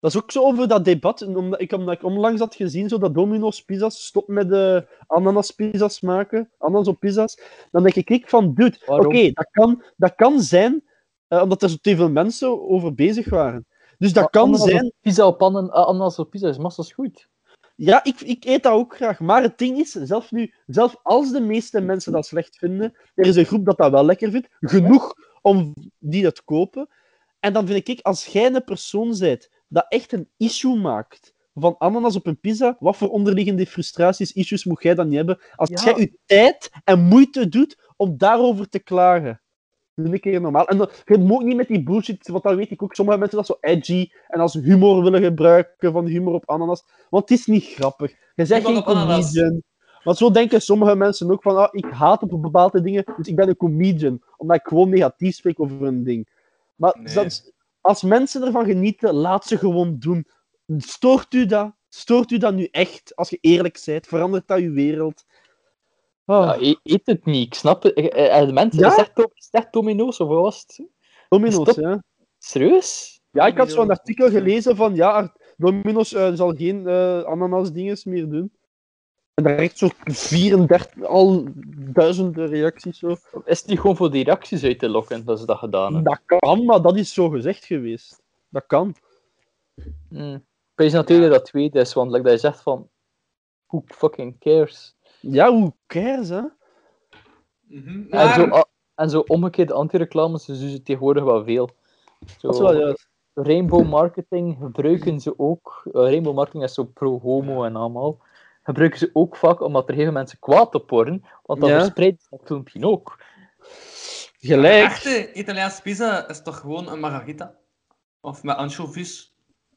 Speaker 3: Dat is ook zo over dat debat. en Omdat ik, omdat ik onlangs had gezien zo dat Domino's Pizza's stopt met de ananaspizzas maken. Ananas op pizza's. Dan denk ik ik van, dude, oké,
Speaker 5: Waarom?
Speaker 3: dat, kan, dat kan zijn eh, omdat er zo te veel mensen over bezig waren. Dus dat
Speaker 5: Maar
Speaker 3: kan
Speaker 5: ananas op
Speaker 3: zijn...
Speaker 5: Pizza op pannen, eh, ananas op pizza is massas goed.
Speaker 3: Ja, ik, ik eet dat ook graag. Maar het ding is, zelf nu, zelf als de meeste mensen dat slecht vinden, er is een groep dat dat wel lekker vindt, genoeg om die dat kopen. En dan vind ik, als jij een persoon bent dat echt een issue maakt van ananas op een pizza, wat voor onderliggende frustraties, issues moet jij dan niet hebben als
Speaker 5: Ja.
Speaker 3: jij je tijd en moeite doet om daarover te klagen? Dat is een keer normaal. En dan, je moet ook niet met die bullshit, want dan weet ik ook, sommige mensen dat zo edgy en als humor willen gebruiken, van humor op ananas. Want het is niet grappig. Je zegt
Speaker 4: Humor
Speaker 3: geen
Speaker 4: op ananas.
Speaker 3: comedian. Want zo denken sommige mensen ook van, ah, ik haat op bepaalde dingen, dus ik ben een comedian. Omdat ik gewoon negatief spreek over een ding. Maar
Speaker 4: Nee.
Speaker 3: dat is- als mensen ervan genieten, laat ze gewoon doen. Stoort u dat? Stoort u dat nu echt? Als je eerlijk bent, verandert dat uw wereld? Oh.
Speaker 5: Ja, e- eet het niet, ik snap het. Eh, eh, eh, de mensen,
Speaker 3: Ja?
Speaker 5: zegt, Do- zegt Domino's of wat was het?
Speaker 3: Domino's,
Speaker 5: Stop.
Speaker 3: hè?
Speaker 5: Serieus?
Speaker 3: Ja, ik had zo'n
Speaker 4: Domino's.
Speaker 3: artikel gelezen van ja, Ar- Domino's eh, zal geen eh ananas dinges meer doen. En daar echt zo 34, al duizenden reacties zo.
Speaker 5: Is het niet gewoon voor die reacties uit te lokken dat ze dat gedaan hebben?
Speaker 3: Dat kan, maar dat is zo gezegd geweest. Dat kan.
Speaker 5: Mm. Ik weet natuurlijk dat het tweede is, want like dat je zegt van... Who fucking cares?
Speaker 3: Ja, hoe cares, hè?
Speaker 4: Mhm.
Speaker 5: En,
Speaker 4: Maar-
Speaker 5: zo, a- en zo omgekeerde anti-reclames dus doen ze tegenwoordig wel veel. Zo,
Speaker 3: Dat is wel juist.
Speaker 5: Rainbow marketing gebruiken ze ook. eh, rainbow marketing is zo pro-homo en allemaal. Gebruiken ze ook vaak omdat er heel veel mensen kwaad op worden, want dan
Speaker 3: Ja.
Speaker 5: verspreidt ze dat filmpje ook.
Speaker 3: Gelijk.
Speaker 4: Echte Italiaanse pizza is toch gewoon een margarita? Of met anchovies?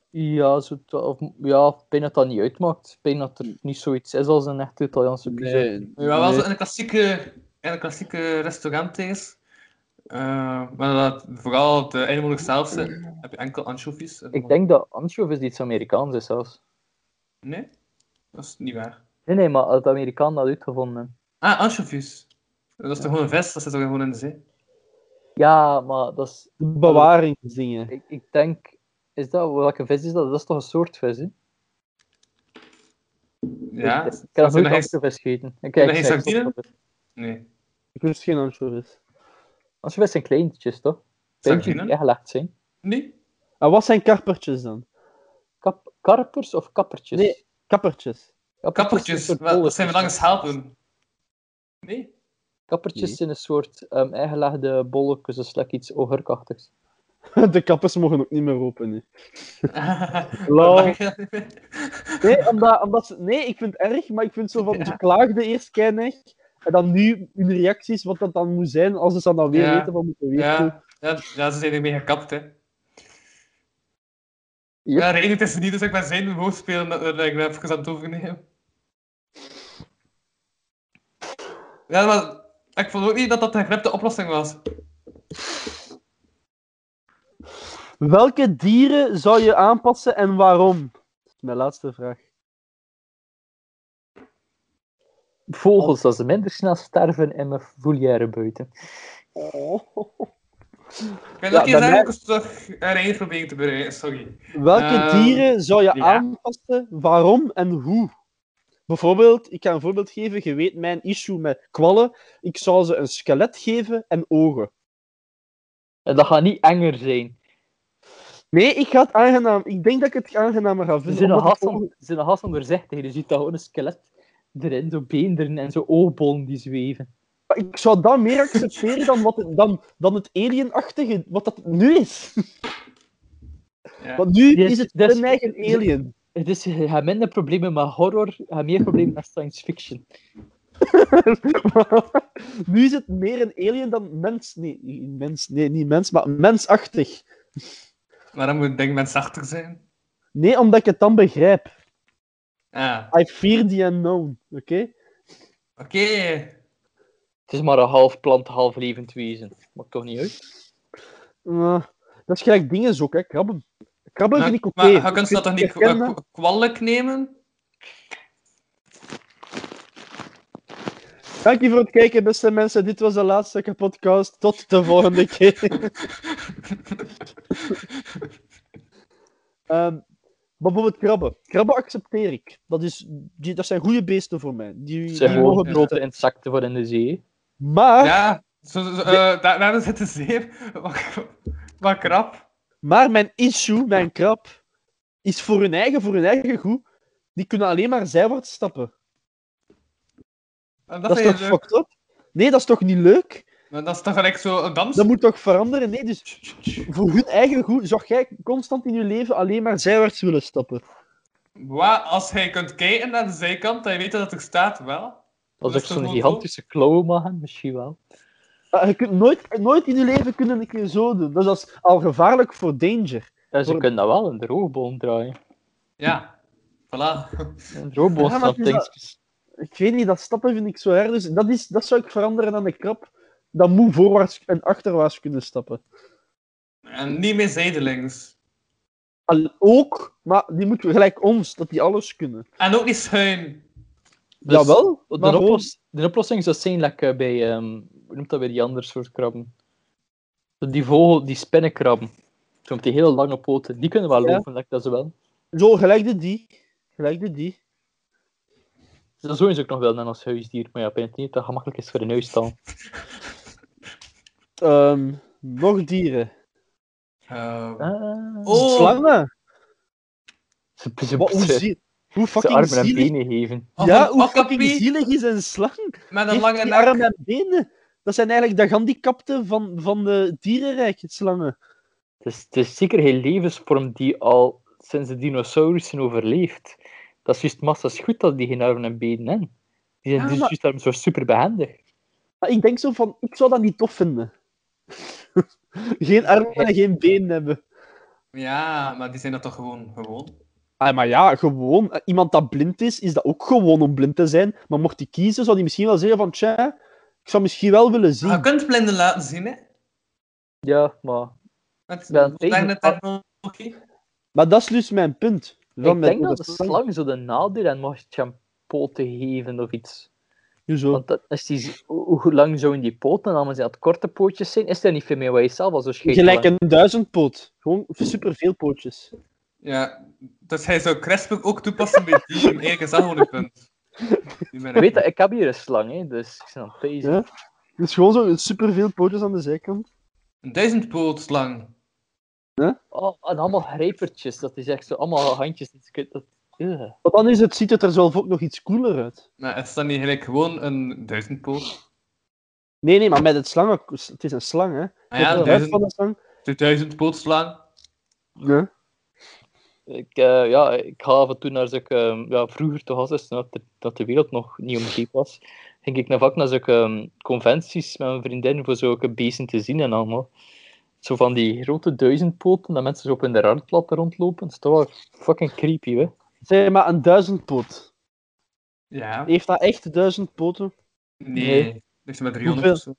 Speaker 5: Ja, zo, twa- of, ja, ik denk dat dat niet uitmaakt. Ik denk dat er niet zoiets is als een echte Italiaanse pizza.
Speaker 3: Nee,
Speaker 4: Ja, wel
Speaker 3: nee.
Speaker 4: zo in een klassieke, in een klassieke restaurant is. eh, maar dat vooral op de inwoners zelf zit, heb je enkel anchovies. En
Speaker 5: Ik denk dat anchovies iets Amerikaans is zelfs.
Speaker 4: Nee? Dat is niet waar.
Speaker 5: Nee, nee, maar het Amerikaan dat uitgevonden. hebben.
Speaker 4: Ah, anchovies. Dat is toch gewoon een vis? Dat zit toch gewoon in de zee?
Speaker 5: Ja, maar dat is...
Speaker 3: De bewaringsdingen.
Speaker 5: Ik, ik denk... Is dat... Welke vis is dat? Dat is toch een soort vis, hè?
Speaker 4: Ja?
Speaker 5: Ik, ik
Speaker 4: Zijn
Speaker 5: heb nog
Speaker 4: er
Speaker 5: nooit
Speaker 4: geen-
Speaker 5: anchovies gegeten. Ik
Speaker 4: er
Speaker 5: kijk,
Speaker 4: geen
Speaker 5: ik zeg-
Speaker 4: sardine? Nee.
Speaker 3: Ik wist geen anchovies.
Speaker 5: Anchovies zijn kleintjes, toch? Kleintjes die
Speaker 4: Sardine?
Speaker 5: weggelegd zijn.
Speaker 4: Nee?
Speaker 3: En wat zijn karpertjes dan?
Speaker 5: Kap karpers of kappertjes?
Speaker 3: Nee. Kappertjes.
Speaker 4: Kappertjes.
Speaker 5: zijn een soort
Speaker 4: Wat- Dat zijn we
Speaker 5: bolletjes.
Speaker 4: langs helpen. Nee?
Speaker 5: Kappertjes
Speaker 3: Nee.
Speaker 5: zijn een soort ehm eigenlegde bolletjes, dus lekker iets ogurkachtigs.
Speaker 3: De kappers mogen ook niet meer open. hè. Lol.
Speaker 4: Mag ik dat niet meer?
Speaker 3: Nee, omdat, omdat ze- nee, ik vind het erg, maar ik vind zo van, ze klaagden eerst keinig. En dan nu hun reacties, wat dat dan moet zijn, als ze dat dan weer
Speaker 4: Ja.
Speaker 3: weten van moeten weten.
Speaker 4: Ja, ja, ja, ze zijn ermee gekapt, hè.
Speaker 5: Yep.
Speaker 4: Ja, reden is niet, dus ik ben zijn woordspelen dat dat ik dat even aan het overnemen. Ja, maar ik vond ook niet dat dat de geknipte oplossing was.
Speaker 3: Welke dieren zou je aanpassen en waarom? Dat is mijn laatste vraag.
Speaker 5: Vogels, dat ze minder snel sterven in mijn volière buiten.
Speaker 4: Oh. Ik ben
Speaker 3: Ja,
Speaker 4: ook hier
Speaker 3: bij
Speaker 4: zeggen,
Speaker 3: mij-
Speaker 4: ik was toch een reden proberen te bereiden, sorry.
Speaker 3: Welke
Speaker 4: Ehm,
Speaker 3: dieren zou je
Speaker 4: ja.
Speaker 3: aanpassen, waarom en hoe? Bijvoorbeeld, ik ga een voorbeeld geven. Je weet mijn issue met kwallen. Ik zou ze een skelet geven en ogen.
Speaker 5: En dat gaat niet enger zijn.
Speaker 3: Nee, ik ga het aangenaam. Ik denk dat ik het aangenamer ga
Speaker 5: Ze
Speaker 3: vinden.
Speaker 5: zijn een
Speaker 3: omdat
Speaker 5: haast
Speaker 3: het ogen-
Speaker 5: om- ze zijn een haast onderzichtig. Je ziet dat gewoon een skelet erin, zo beenderen en zo oogbollen die zweven.
Speaker 3: Maar Ik zou dat meer accepteren dan, wat het, dan, dan het alienachtige, wat dat nu is.
Speaker 4: Ja.
Speaker 3: Want nu
Speaker 5: Yes,
Speaker 3: is het
Speaker 5: that's-
Speaker 3: een eigen alien.
Speaker 5: Dus je hebt minder problemen met horror, je hebt meer problemen met science fiction.
Speaker 3: nu is het meer een alien dan mens. Nee, niet mens, nee niet mens, maar mensachtig.
Speaker 4: Maar dan moet het ding mensachtig zijn.
Speaker 3: Nee, omdat ik het dan begrijp.
Speaker 4: Ah,
Speaker 3: I fear the unknown, oké?
Speaker 4: oké.
Speaker 5: Het is maar een half plant, half levend wezen. Maakt toch niet uit?
Speaker 3: Eh, dat is gelijk dingen zo, hè, krabben. Krabben
Speaker 4: Maar,
Speaker 3: vind ik oké.
Speaker 4: maar je kunt ze dat toch niet
Speaker 3: Ik ken
Speaker 4: kwa-
Speaker 3: dat.
Speaker 4: kwa- kwalijk nemen?
Speaker 3: Dank je voor het kijken, beste mensen. Dit was de laatste podcast. Tot de volgende keer. Ehm, maar bijvoorbeeld krabben. Krabben accepteer ik. Dat, is, die, dat zijn goede beesten voor mij. Die,
Speaker 5: Het
Speaker 3: die
Speaker 5: zijn gewoon
Speaker 3: mogen
Speaker 5: grote insecten voor in de zee.
Speaker 3: Maar,
Speaker 4: Ja, zo, zo, eh, daar, daar zit de zeep. Wat- Wat krap.
Speaker 3: maar mijn issue, mijn krab, is voor hun eigen, voor hun eigen goed. Die kunnen alleen maar zijwaarts stappen. Dat,
Speaker 4: En Dat,
Speaker 3: is
Speaker 4: vind
Speaker 3: toch
Speaker 4: je leuk.
Speaker 3: fucked up? Nee, dat is toch niet leuk?
Speaker 4: Maar Dat is toch gelijk zo een dans?
Speaker 3: Dat moet toch veranderen? Nee, dus voor hun eigen goed zou jij constant in je leven alleen maar zijwaarts willen stappen.
Speaker 4: Wat, als jij kunt kijken naar de zijkant, dan weet je dat er staat wel.
Speaker 5: Als
Speaker 4: Dat
Speaker 5: ik
Speaker 4: is
Speaker 5: zo'n
Speaker 4: toch wel
Speaker 5: gigantische klauwen mag hebben, misschien wel.
Speaker 3: Maar Ah, je kunt nooit, nooit in je leven kunnen een keer zo doen. Dus dat is al gevaarlijk voor danger.
Speaker 5: Ja, ze
Speaker 3: Voor-
Speaker 5: kunnen dat wel in de roofboom draaien.
Speaker 4: Ja, voilà.
Speaker 5: In de roofboom
Speaker 3: Ja, maar
Speaker 5: staan
Speaker 3: het is dat-
Speaker 5: dingetjes.
Speaker 3: Ik weet niet, dat stappen vind ik zo erg. Dus dat, is, dat zou ik veranderen aan de krab. Dat moet voorwaarts en achterwaarts kunnen stappen.
Speaker 4: En niet meer zijdelings.
Speaker 3: Al, ook, maar die moet gelijk ons, dat die alles kunnen.
Speaker 4: En ook niet schuin.
Speaker 5: Dus-
Speaker 3: Jawel,
Speaker 5: De,
Speaker 3: maar gewoon-
Speaker 5: oplos- de oplossing zou zijn lekker bij, ehm hoe noemt dat bij die andere soort krabben? Zo Die vogel, die spinnenkrabben. Zo met die hele lange poten. Die kunnen wel
Speaker 3: Ja.
Speaker 5: lopen, lijkt dat ze wel.
Speaker 3: Zo, gelijk de die. Gelijk de die.
Speaker 5: Dat zou je ze ook nog wel nemen als huisdier, maar ja, ik denk niet dat het gemakkelijk is voor een huisstaal.
Speaker 3: Ehm, nog dieren.
Speaker 4: Eh,
Speaker 5: Ah,
Speaker 4: oh,
Speaker 3: Slangen.
Speaker 5: ze, ze,
Speaker 3: Wat, hoe,
Speaker 5: ze-
Speaker 3: zie- hoe
Speaker 5: ze
Speaker 3: fucking
Speaker 5: armen en
Speaker 3: zielig.
Speaker 5: benen geven.
Speaker 3: Ja, hoe fucking
Speaker 4: Wakapie
Speaker 3: zielig is een slang?
Speaker 4: met een
Speaker 3: Heeft
Speaker 4: lange
Speaker 3: die
Speaker 4: nek.
Speaker 3: armen en benen. Dat zijn eigenlijk de gehandicapten van, van de dierenrijk, slangen.
Speaker 5: Het is, het is zeker geen levensvorm die al sinds de dinosaurussen overleeft. Dat is juist massa's goed dat die geen armen en benen hebben. Die zijn
Speaker 3: Ja,
Speaker 5: dus
Speaker 3: maar-
Speaker 5: juist daarom zo super behendig.
Speaker 3: Maar ik denk zo van, ik zou dat niet tof vinden. geen armen en geen benen hebben.
Speaker 4: Ja, maar die zijn dat toch gewoon gewoon?
Speaker 3: Ah, maar ja, gewoon. eh, Iemand dat blind is, is dat ook gewoon om blind te zijn. Maar mocht hij kiezen, zou hij misschien wel zeggen van... Tja, ik zou misschien wel willen zien.
Speaker 4: Maar je Ah, kunt blinden laten zien, hè?
Speaker 5: Ja, maar
Speaker 4: Met
Speaker 5: Ja,
Speaker 4: moderne
Speaker 5: tegen-
Speaker 4: technologie.
Speaker 3: Maar dat is dus mijn punt.
Speaker 5: ik
Speaker 3: mijn
Speaker 5: denk dat de
Speaker 3: overtuiging.
Speaker 5: slang zo de nadeel en mag shampoo te geven of iets.
Speaker 3: Hoezo?
Speaker 5: Want dat, als die, z- hoe hoe lang zouden die poten dan zijn? Dat korte pootjes zijn? Is dat niet veel meer wat je zelf als een scheet
Speaker 3: Gelijk
Speaker 5: lang-
Speaker 3: een duizendpoot. Gewoon superveel pootjes.
Speaker 4: Ja, dus hij zou Crespo ook toepassen bij die. En eigenlijk is dat gewoon een punt. Die ben
Speaker 5: Je
Speaker 4: ik-
Speaker 5: weet dat, ik heb hier een slang, hè, dus ik ben aan het pezen.
Speaker 3: Ja. Dus gewoon zo superveel pootjes aan de zijkant.
Speaker 4: Een duizendpoot lang.
Speaker 5: Oh, en allemaal grijpertjes, dat is echt zo, allemaal handjes. Dat, is- dat, Ugh.
Speaker 3: Want dan is het, ziet het er zelf ook nog iets cooler uit.
Speaker 4: Maar is dat niet gelijk gewoon een duizendpoot?
Speaker 3: Nee, nee, maar met het slangen... Het is een slang, hè.
Speaker 4: Ah
Speaker 3: Met
Speaker 4: ja, een
Speaker 3: de huid
Speaker 4: duizend,
Speaker 3: van de slang.
Speaker 4: de duizendpoot slang.
Speaker 3: Ja.
Speaker 5: Ik, eh, ja, ik ga af en toe naar zulke... ehm, ja, vroeger toch als is, dat de, dat de wereld nog niet omgeven was, ging ik naar vaak naar zulke ehm, conventies met mijn vriendin voor zulke beesten te zien en allemaal. Zo van die grote duizendpoten, dat mensen zo op hun rand laten rondlopen. Dat is toch wel fucking creepy, hè?
Speaker 3: Zeg maar, een duizendpoot.
Speaker 4: Ja.
Speaker 3: Heeft dat echt duizend poten?
Speaker 4: Nee. Dus met 300 of zo.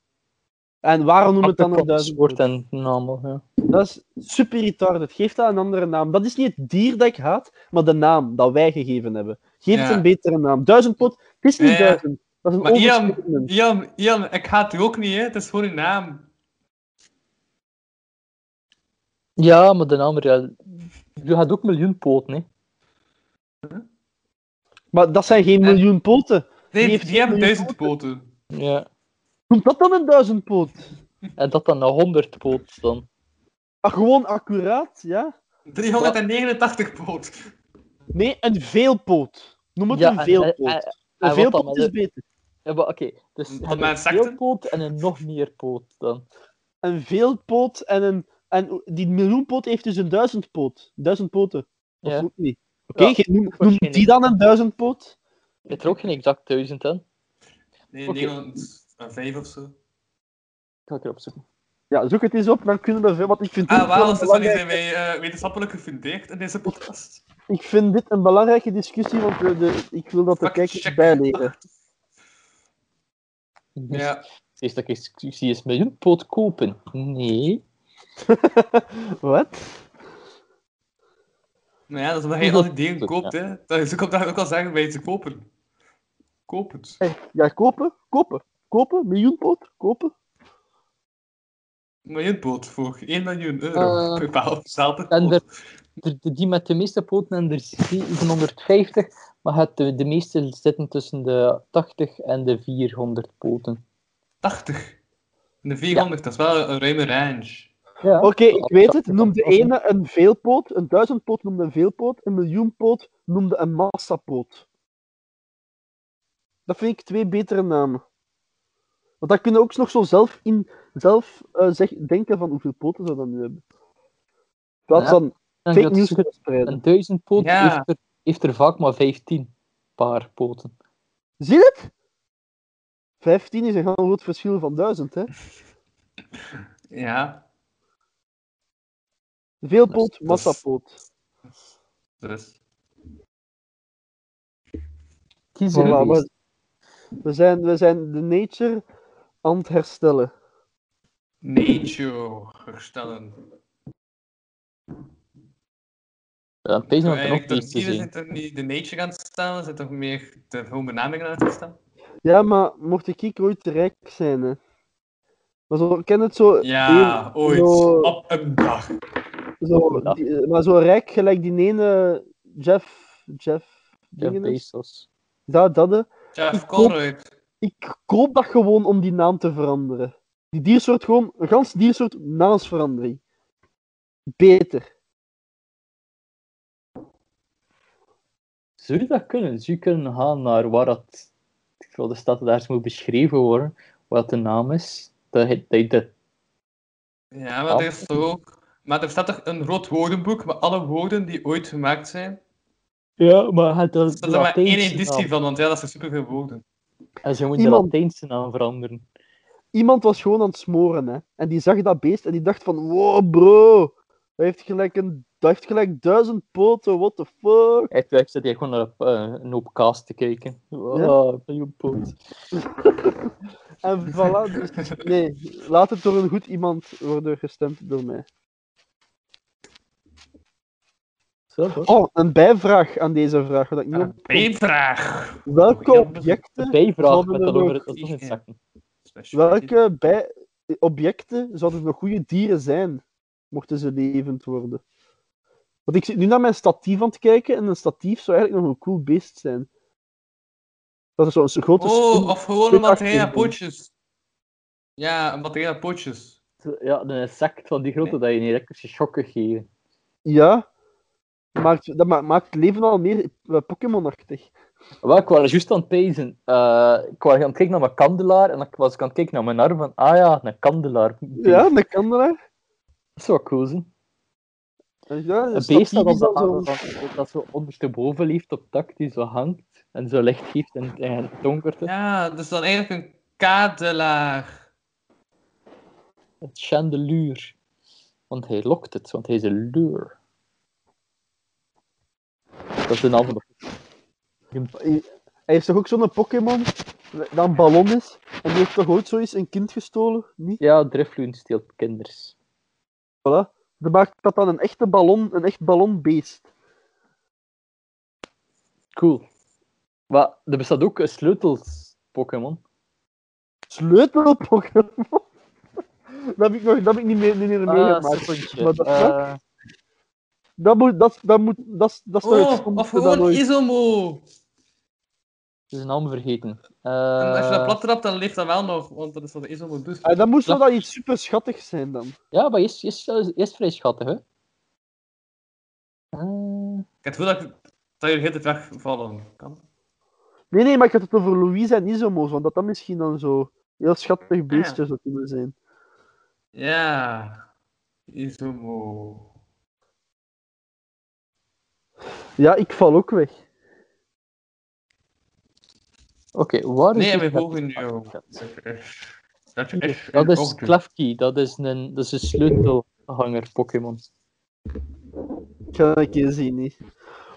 Speaker 3: En waarom noemen we Ah, het dan een
Speaker 5: wordt
Speaker 3: duizendpoot?
Speaker 5: en allemaal, ja.
Speaker 3: Dat is super retarded. Geef dat een andere naam. Dat is niet het dier dat ik haat, maar de naam dat wij gegeven hebben. Geef
Speaker 4: Ja.
Speaker 3: het een betere naam. Duizendpoot, het is niet
Speaker 4: Ja, ja.
Speaker 3: duizend. Dat is een
Speaker 4: Maar Ian,
Speaker 3: overstatement.
Speaker 4: Ian, Ian, ik haat u ook niet, hè? Het is gewoon uw naam.
Speaker 5: Ja, maar de naam... Ja, je had ook miljoen poten, hè?
Speaker 3: Maar dat zijn geen miljoen poten. Die
Speaker 4: Nee,
Speaker 3: heeft
Speaker 4: die hebben
Speaker 3: miljoen
Speaker 4: duizend poten.
Speaker 5: Ja.
Speaker 3: Noem dat dan een duizendpoot?
Speaker 5: En dat dan naar 100 poot dan.
Speaker 3: Ah, gewoon accuraat, ja?
Speaker 4: 389 poot.
Speaker 3: Nee, een veelpoot. Noem het
Speaker 5: Ja,
Speaker 3: een
Speaker 5: en-
Speaker 3: veelpoot.
Speaker 5: en- en-
Speaker 3: een
Speaker 5: en wat dan
Speaker 3: veelpoot
Speaker 5: met
Speaker 3: is
Speaker 5: de-
Speaker 3: beter.
Speaker 5: Ja, maar oké. Dus
Speaker 4: Van
Speaker 5: je hebt
Speaker 4: mijn
Speaker 5: een
Speaker 4: secte?
Speaker 5: veelpoot en een nog meer poot dan.
Speaker 3: Een veelpoot en een... En die miljoenpoot heeft dus een duizendpoot. Duizend poten. Dat
Speaker 5: Ja.
Speaker 3: klopt niet. Oké,
Speaker 5: Ja,
Speaker 3: ge- noem, noem
Speaker 5: waarschijnlijk.
Speaker 3: die dan een duizendpoot?
Speaker 5: Je hebt er ook geen exact 1000 aan.
Speaker 4: Nee,
Speaker 5: Oké.
Speaker 4: 905 of zo.
Speaker 5: Ik ga ik erop zoeken.
Speaker 3: Ja, zoek het eens op, dan kunnen we veel. Want ik vind, dit
Speaker 4: Ah,
Speaker 3: wel
Speaker 4: wel,
Speaker 3: een
Speaker 4: dus dan zijn
Speaker 3: belangrijke,
Speaker 4: wij eh, wetenschappelijk gefundeerd in deze podcast.
Speaker 3: ik vind dit een belangrijke discussie, want we de, ik wil dat de
Speaker 4: Fact
Speaker 3: kijkers
Speaker 4: check.
Speaker 3: bijleren.
Speaker 5: Ja.
Speaker 4: Ja.
Speaker 5: Eerst dat ik zie is miljoen poot kopen. Nee.
Speaker 3: Wat?
Speaker 4: Nou ja, dat is omdat je al die dingen koopt, hè. Dat is ook op dat ik ook al zeggen bij ze kopen. Koop het.
Speaker 3: Ja, kopen, kopen, kopen, miljoenpoot, kopen.
Speaker 4: Een miljoenpoot voor 1 miljoen euro.
Speaker 5: Eh,
Speaker 4: Bepaal, zelfde
Speaker 5: en
Speaker 4: poot.
Speaker 5: De, de- die met de meeste poten en er zitten 150, maar het, de, de meeste zitten tussen de 80 en de 400 poten.
Speaker 4: 80. En de 400, dat is wel een ruime range.
Speaker 5: Ja.
Speaker 3: Oké, ik weet het. Noem de
Speaker 5: Als-
Speaker 3: ene een veelpoot, een duizendpoot noemde een veelpoot, een miljoenpoot noemde een massapoot. Dat vind ik twee betere namen. Want dan kunnen we ook nog zo zelf, in, zelf eh, zeg, denken van hoeveel poten ze dan nu hebben. Dat
Speaker 5: Ja.
Speaker 3: is dan
Speaker 5: En
Speaker 3: fake
Speaker 5: dat
Speaker 3: nieuws
Speaker 5: is-
Speaker 3: kunnen spreiden.
Speaker 5: Een duizend poot
Speaker 4: Ja.
Speaker 5: heeft, er, heeft er vaak maar 15 paar poten.
Speaker 3: Zie je het? 15 is een heel groot verschil van 1000, hè?
Speaker 4: Ja,
Speaker 3: Veelpoot,
Speaker 4: Dat is-
Speaker 3: massapoot.
Speaker 4: dus.
Speaker 5: Kies er
Speaker 3: Voilà,
Speaker 5: een
Speaker 3: maar we, zijn, we zijn de nature aan het herstellen.
Speaker 4: Nature herstellen.
Speaker 5: Ja, het is
Speaker 4: Zo
Speaker 5: nog
Speaker 4: eigenlijk
Speaker 5: iets
Speaker 4: toch
Speaker 5: te
Speaker 4: dieren
Speaker 5: zien.
Speaker 4: zijn toch niet de nature aan het stellen, zijn toch meer de gewoon benamingen aan het stellen?
Speaker 3: Ja, maar mocht ik ik ooit te rijk zijn, hè? Maar zo, ken het zo...
Speaker 4: Ja,
Speaker 3: één-
Speaker 4: ooit.
Speaker 3: Zo,
Speaker 4: Op een dag.
Speaker 3: zo,
Speaker 5: Ja.
Speaker 3: die- maar zo rijk gelijk die ene Jeff... Jeff...
Speaker 5: Ja,
Speaker 3: dingen is.
Speaker 5: Bezos.
Speaker 3: Dat, dat, hè.
Speaker 4: Jeff Colruyt.
Speaker 3: Ik koop dat gewoon om die naam te veranderen. Die diersoort gewoon, een gans diersoort naamsverandering. Beter.
Speaker 5: Zou je dat kunnen? Zou je kunnen gaan naar waar dat... Ik wil de stad daar eens moet beschreven worden, wat de naam is. Dat, je- dat, je dat,
Speaker 4: Ja, maar er is toch ook... Maar er staat toch een rood woordenboek met alle woorden die ooit gemaakt zijn?
Speaker 5: ja, maar het is
Speaker 4: Er staat er maar één editie van, want ja, dat zijn superveel woorden.
Speaker 5: En ze moeten
Speaker 3: Iemand-
Speaker 5: de Latijnse naam veranderen.
Speaker 3: Iemand was gewoon aan het smoren, hè. En die zag dat beest en die dacht van, wow, bro. Hij heeft gelijk, een, hij heeft gelijk duizend poten, what the fuck.
Speaker 5: Echt, ik zat hier gewoon naar eh, een hoop kaas te kijken. Ah, Wow, ja?
Speaker 3: En voilà, dus nee. Laat het door een goed iemand worden gestemd door mij. Oh, een bijvraag aan deze vraag. Wat ik niet op...
Speaker 4: Eén vraag.
Speaker 3: Welke
Speaker 4: ja,
Speaker 3: objecten
Speaker 5: Bijvraag
Speaker 3: zouden
Speaker 5: met
Speaker 3: er
Speaker 5: dat
Speaker 3: nog-
Speaker 5: over Dus het inzakken.
Speaker 3: Welke bij... objecten zouden nog goede dieren zijn, mochten ze levend worden? Want ik zit nu naar mijn statief aan het kijken en een statief zou eigenlijk nog een cool beest zijn. Dat is zo'n grote spin-
Speaker 4: Oh, of gewoon een batterij aan
Speaker 3: spinachtige ding.
Speaker 4: pootjes. Ja, een batterij aan pootjes.
Speaker 5: Ja, een insect van die grote dat je een elektrische schokken geeft.
Speaker 3: Ja, maakt, dat ma- maakt het leven al meer eh, Pokémon-achtig.
Speaker 5: Wel, ik was juist aan het pezen. Eh, ik was aan het kijken naar mijn kandelaar en dan was ik aan het kijken naar mijn arm van, ah ja, een kandelaar.
Speaker 3: Ja, dat kan er.
Speaker 5: Dat zou cool zijn.
Speaker 3: Ja,
Speaker 5: Een beest dat op
Speaker 3: is
Speaker 5: de
Speaker 3: dan zo'n-
Speaker 5: arm, dat, dat zo ondersteboven leeft op tak, die zo hangt en zo licht geeft en, en het donkerte.
Speaker 4: Ja, dus dan eigenlijk een kadelaar.
Speaker 5: Het chandelier. Want hij lokt het, want hij is een lure. Dat is een andere.
Speaker 3: Hij heeft toch ook zo'n Pokémon dat een ballon is? En die heeft toch ooit zoiets een kind gestolen? Niet?
Speaker 5: Ja, Drifloon steelt kinders.
Speaker 3: Voilà. Dat maakt dat dan een echte ballon, een echt ballonbeest.
Speaker 5: Cool. Maar er bestaat ook een sleutels-Pokémon.
Speaker 3: Sleutelpokémon? dat heb ik nog dat heb ik niet meer, niet
Speaker 5: Ah,
Speaker 3: meer
Speaker 4: Ah,
Speaker 3: meegemaakt. Maar Ah, dat,
Speaker 5: Eh,
Speaker 3: dat moet, dat, dat moet, dat, is- dat is toch het
Speaker 4: Oh, of
Speaker 3: stomste dat
Speaker 4: gewoon
Speaker 3: ooit...
Speaker 4: Isomo.
Speaker 5: zijn naam vergeten.
Speaker 4: En als je dat
Speaker 5: Eh,
Speaker 4: plat trapt, dan ligt dat wel nog, want dat is wat de Isomo dus doet.
Speaker 3: Ah, dat moest wel dat iets super schattig zijn dan.
Speaker 5: Ja, maar je is, je is, je is vrij schattig, hè? Eh,
Speaker 4: Ik heb het gevoel dat, ik- dat jullie heel de tijd wegvallen. Kan.
Speaker 3: Nee, nee, maar ik had het over Louise en Isomo's, want dat dan misschien dan zo heel schattig beestjes zou kunnen zijn.
Speaker 4: Ja. Isomo.
Speaker 3: Ja, ik val ook weg.
Speaker 5: Oké, waar is
Speaker 4: Nee,
Speaker 5: die
Speaker 4: we
Speaker 5: klef-
Speaker 4: volgen jou. Dat is,
Speaker 5: Dat is
Speaker 4: ook-
Speaker 5: Klefki, dat is een, dat is een sleutelhanger Pokémon.
Speaker 3: Ik ga dat een keer zien, niet.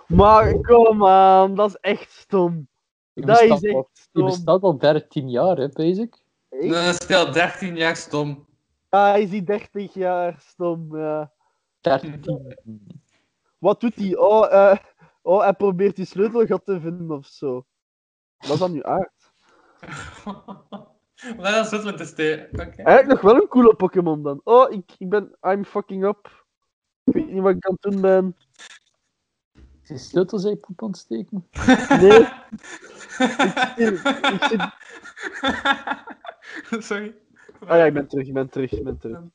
Speaker 3: Maar kom aan, dat is echt stom.
Speaker 5: Die
Speaker 3: Dat is
Speaker 5: bestaat al-
Speaker 3: echt
Speaker 5: Die
Speaker 3: stom.
Speaker 5: bestaat al 13 jaar, hè, basic.
Speaker 4: Dat is stel 13 jaar stom.
Speaker 3: Ja, hij is die 30 jaar stom. ja. Mm-hmm.
Speaker 5: 13.
Speaker 3: Wat doet hij? Oh, eh, oh, hij probeert die sleutelgat te vinden of zo. Wat is dat nu aard?
Speaker 4: Maar dat is het met de steen. Oké.
Speaker 3: Eigenlijk nog wel een coole Pokémon dan. Oh, ik, ik ben. I'm fucking up. Ik weet niet wat ik aan het doen ben.
Speaker 5: Zijn sleutel zijn poep ontsteken.
Speaker 3: Nee. ik, zit- ik zit...
Speaker 4: Sorry.
Speaker 3: Ah ja, ik ben terug, ik ben terug, ik ben
Speaker 4: Ehm,
Speaker 3: terug.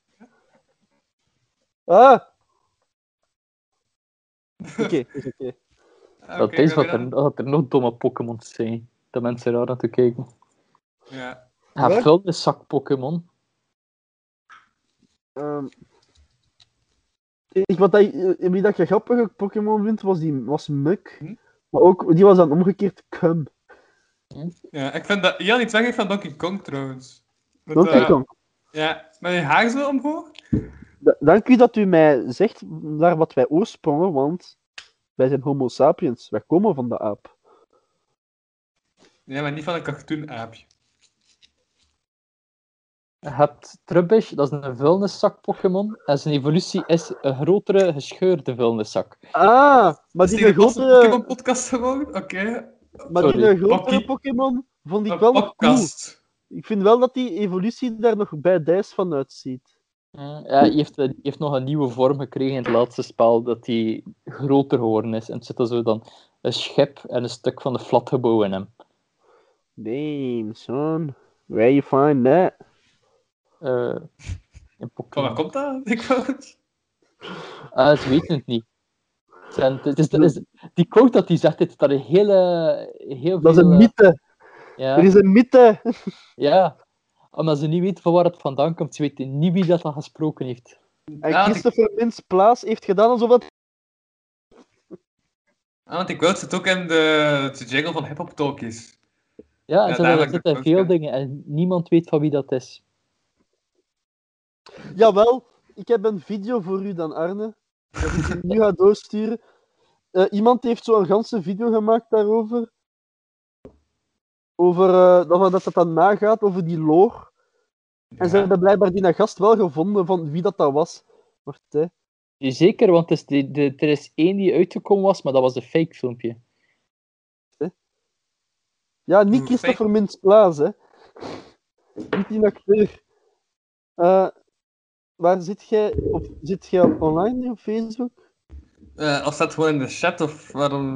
Speaker 3: Ah! Oké, is oké.
Speaker 5: dat
Speaker 4: Oké,
Speaker 5: is
Speaker 4: gaan
Speaker 5: wat
Speaker 4: we dan?
Speaker 5: er, dat er nog domme Pokémon zijn. Dat mensen raar aan te kijken.
Speaker 4: Ja.
Speaker 5: Hij
Speaker 3: Welk?
Speaker 5: heeft wel een zak Pokémon.
Speaker 3: Ehm, ik, wat dat, eh, wie dat je grappige Pokémon vindt, was, die, was Muk.
Speaker 4: Hm?
Speaker 3: Maar ook, die was dan omgekeerd Cum.
Speaker 4: ja, ik vind dat Jan iets weg heeft van Donkey Kong trouwens. Met,
Speaker 3: Donkey
Speaker 4: eh,
Speaker 3: Kong.
Speaker 4: Ja, met je haar zo omhoog.
Speaker 3: Da- Dank u dat u mij zegt naar wat wij oorsprongen, want wij zijn Homo sapiens. Wij komen van de aap.
Speaker 4: Ja, maar niet van een cartoonaapje.
Speaker 5: Je hebt Trubbish, dat is een vuilniszak Pokémon. En zijn evolutie is een grotere gescheurde vuilniszak.
Speaker 3: Ah, maar
Speaker 4: Is
Speaker 3: die
Speaker 4: dit
Speaker 3: een
Speaker 4: een
Speaker 3: grotere,
Speaker 4: Pokémon-podcast geworden? Oké.
Speaker 3: maar die
Speaker 5: Sorry.
Speaker 3: een grotere
Speaker 4: Pocky.
Speaker 3: Pokémon vond ik
Speaker 4: Een
Speaker 3: wel nog cool.
Speaker 4: podcast.
Speaker 3: Ik vind wel dat die evolutie daar nog bij Dijs van uitziet.
Speaker 5: Hm, Ja, hij heeft, hij heeft nog een nieuwe vorm gekregen in het laatste spel, dat hij groter geworden is. En er zit er zo dan een schep en een stuk van de flatgebouw in hem.
Speaker 3: Damn, son. Where you find that?
Speaker 5: Eh, in
Speaker 4: Van waar
Speaker 5: Pokémon.
Speaker 4: komt dat? Ik wou het.
Speaker 5: Ah, ze weten het niet. Ze hebben- Het is, het is, die quote dat hij zegt, het is daar een hele... Heel
Speaker 3: Dat is
Speaker 5: veel,
Speaker 3: een
Speaker 5: eh,
Speaker 3: mythe.
Speaker 5: Ja.
Speaker 3: Er is een mythe.
Speaker 5: Ja, omdat ze niet weten van waar het vandaan komt. Ze weten niet wie dat dan gesproken heeft.
Speaker 3: En
Speaker 4: Ja,
Speaker 3: Christopher Mintz Plaas heeft gedaan alsof dat...
Speaker 4: Ah, want die quote zit ook in de, de jingle van Hip Hop Talkies.
Speaker 5: Ja,
Speaker 4: Ja,
Speaker 5: en zo
Speaker 4: duidelijk,
Speaker 5: zitten
Speaker 4: dat
Speaker 5: veel
Speaker 4: klopt, ja.
Speaker 5: dingen en niemand weet van wie dat is.
Speaker 3: Jawel, ik heb een video voor u dan, Arne. Dat ik u nu ga doorsturen. Eh, iemand heeft zo'n ganse video gemaakt daarover. Over eh, dat dat dat dan nagaat, over die lore. En ze
Speaker 4: Ja.
Speaker 3: hebben blijkbaar die gast wel gevonden van wie dat dat was. Maar hè,
Speaker 5: Ja, Zeker, want het is de, de, er is één die uitgekomen was, maar dat was een fake filmpje.
Speaker 3: Ja, niet
Speaker 4: Een
Speaker 3: Christopher Mintz Plaas, hè. Niet die acteur. Eh, waar zit jij op? Zit jij op online nu op Facebook?
Speaker 4: Eh, of staat gewoon in de chat, of waarom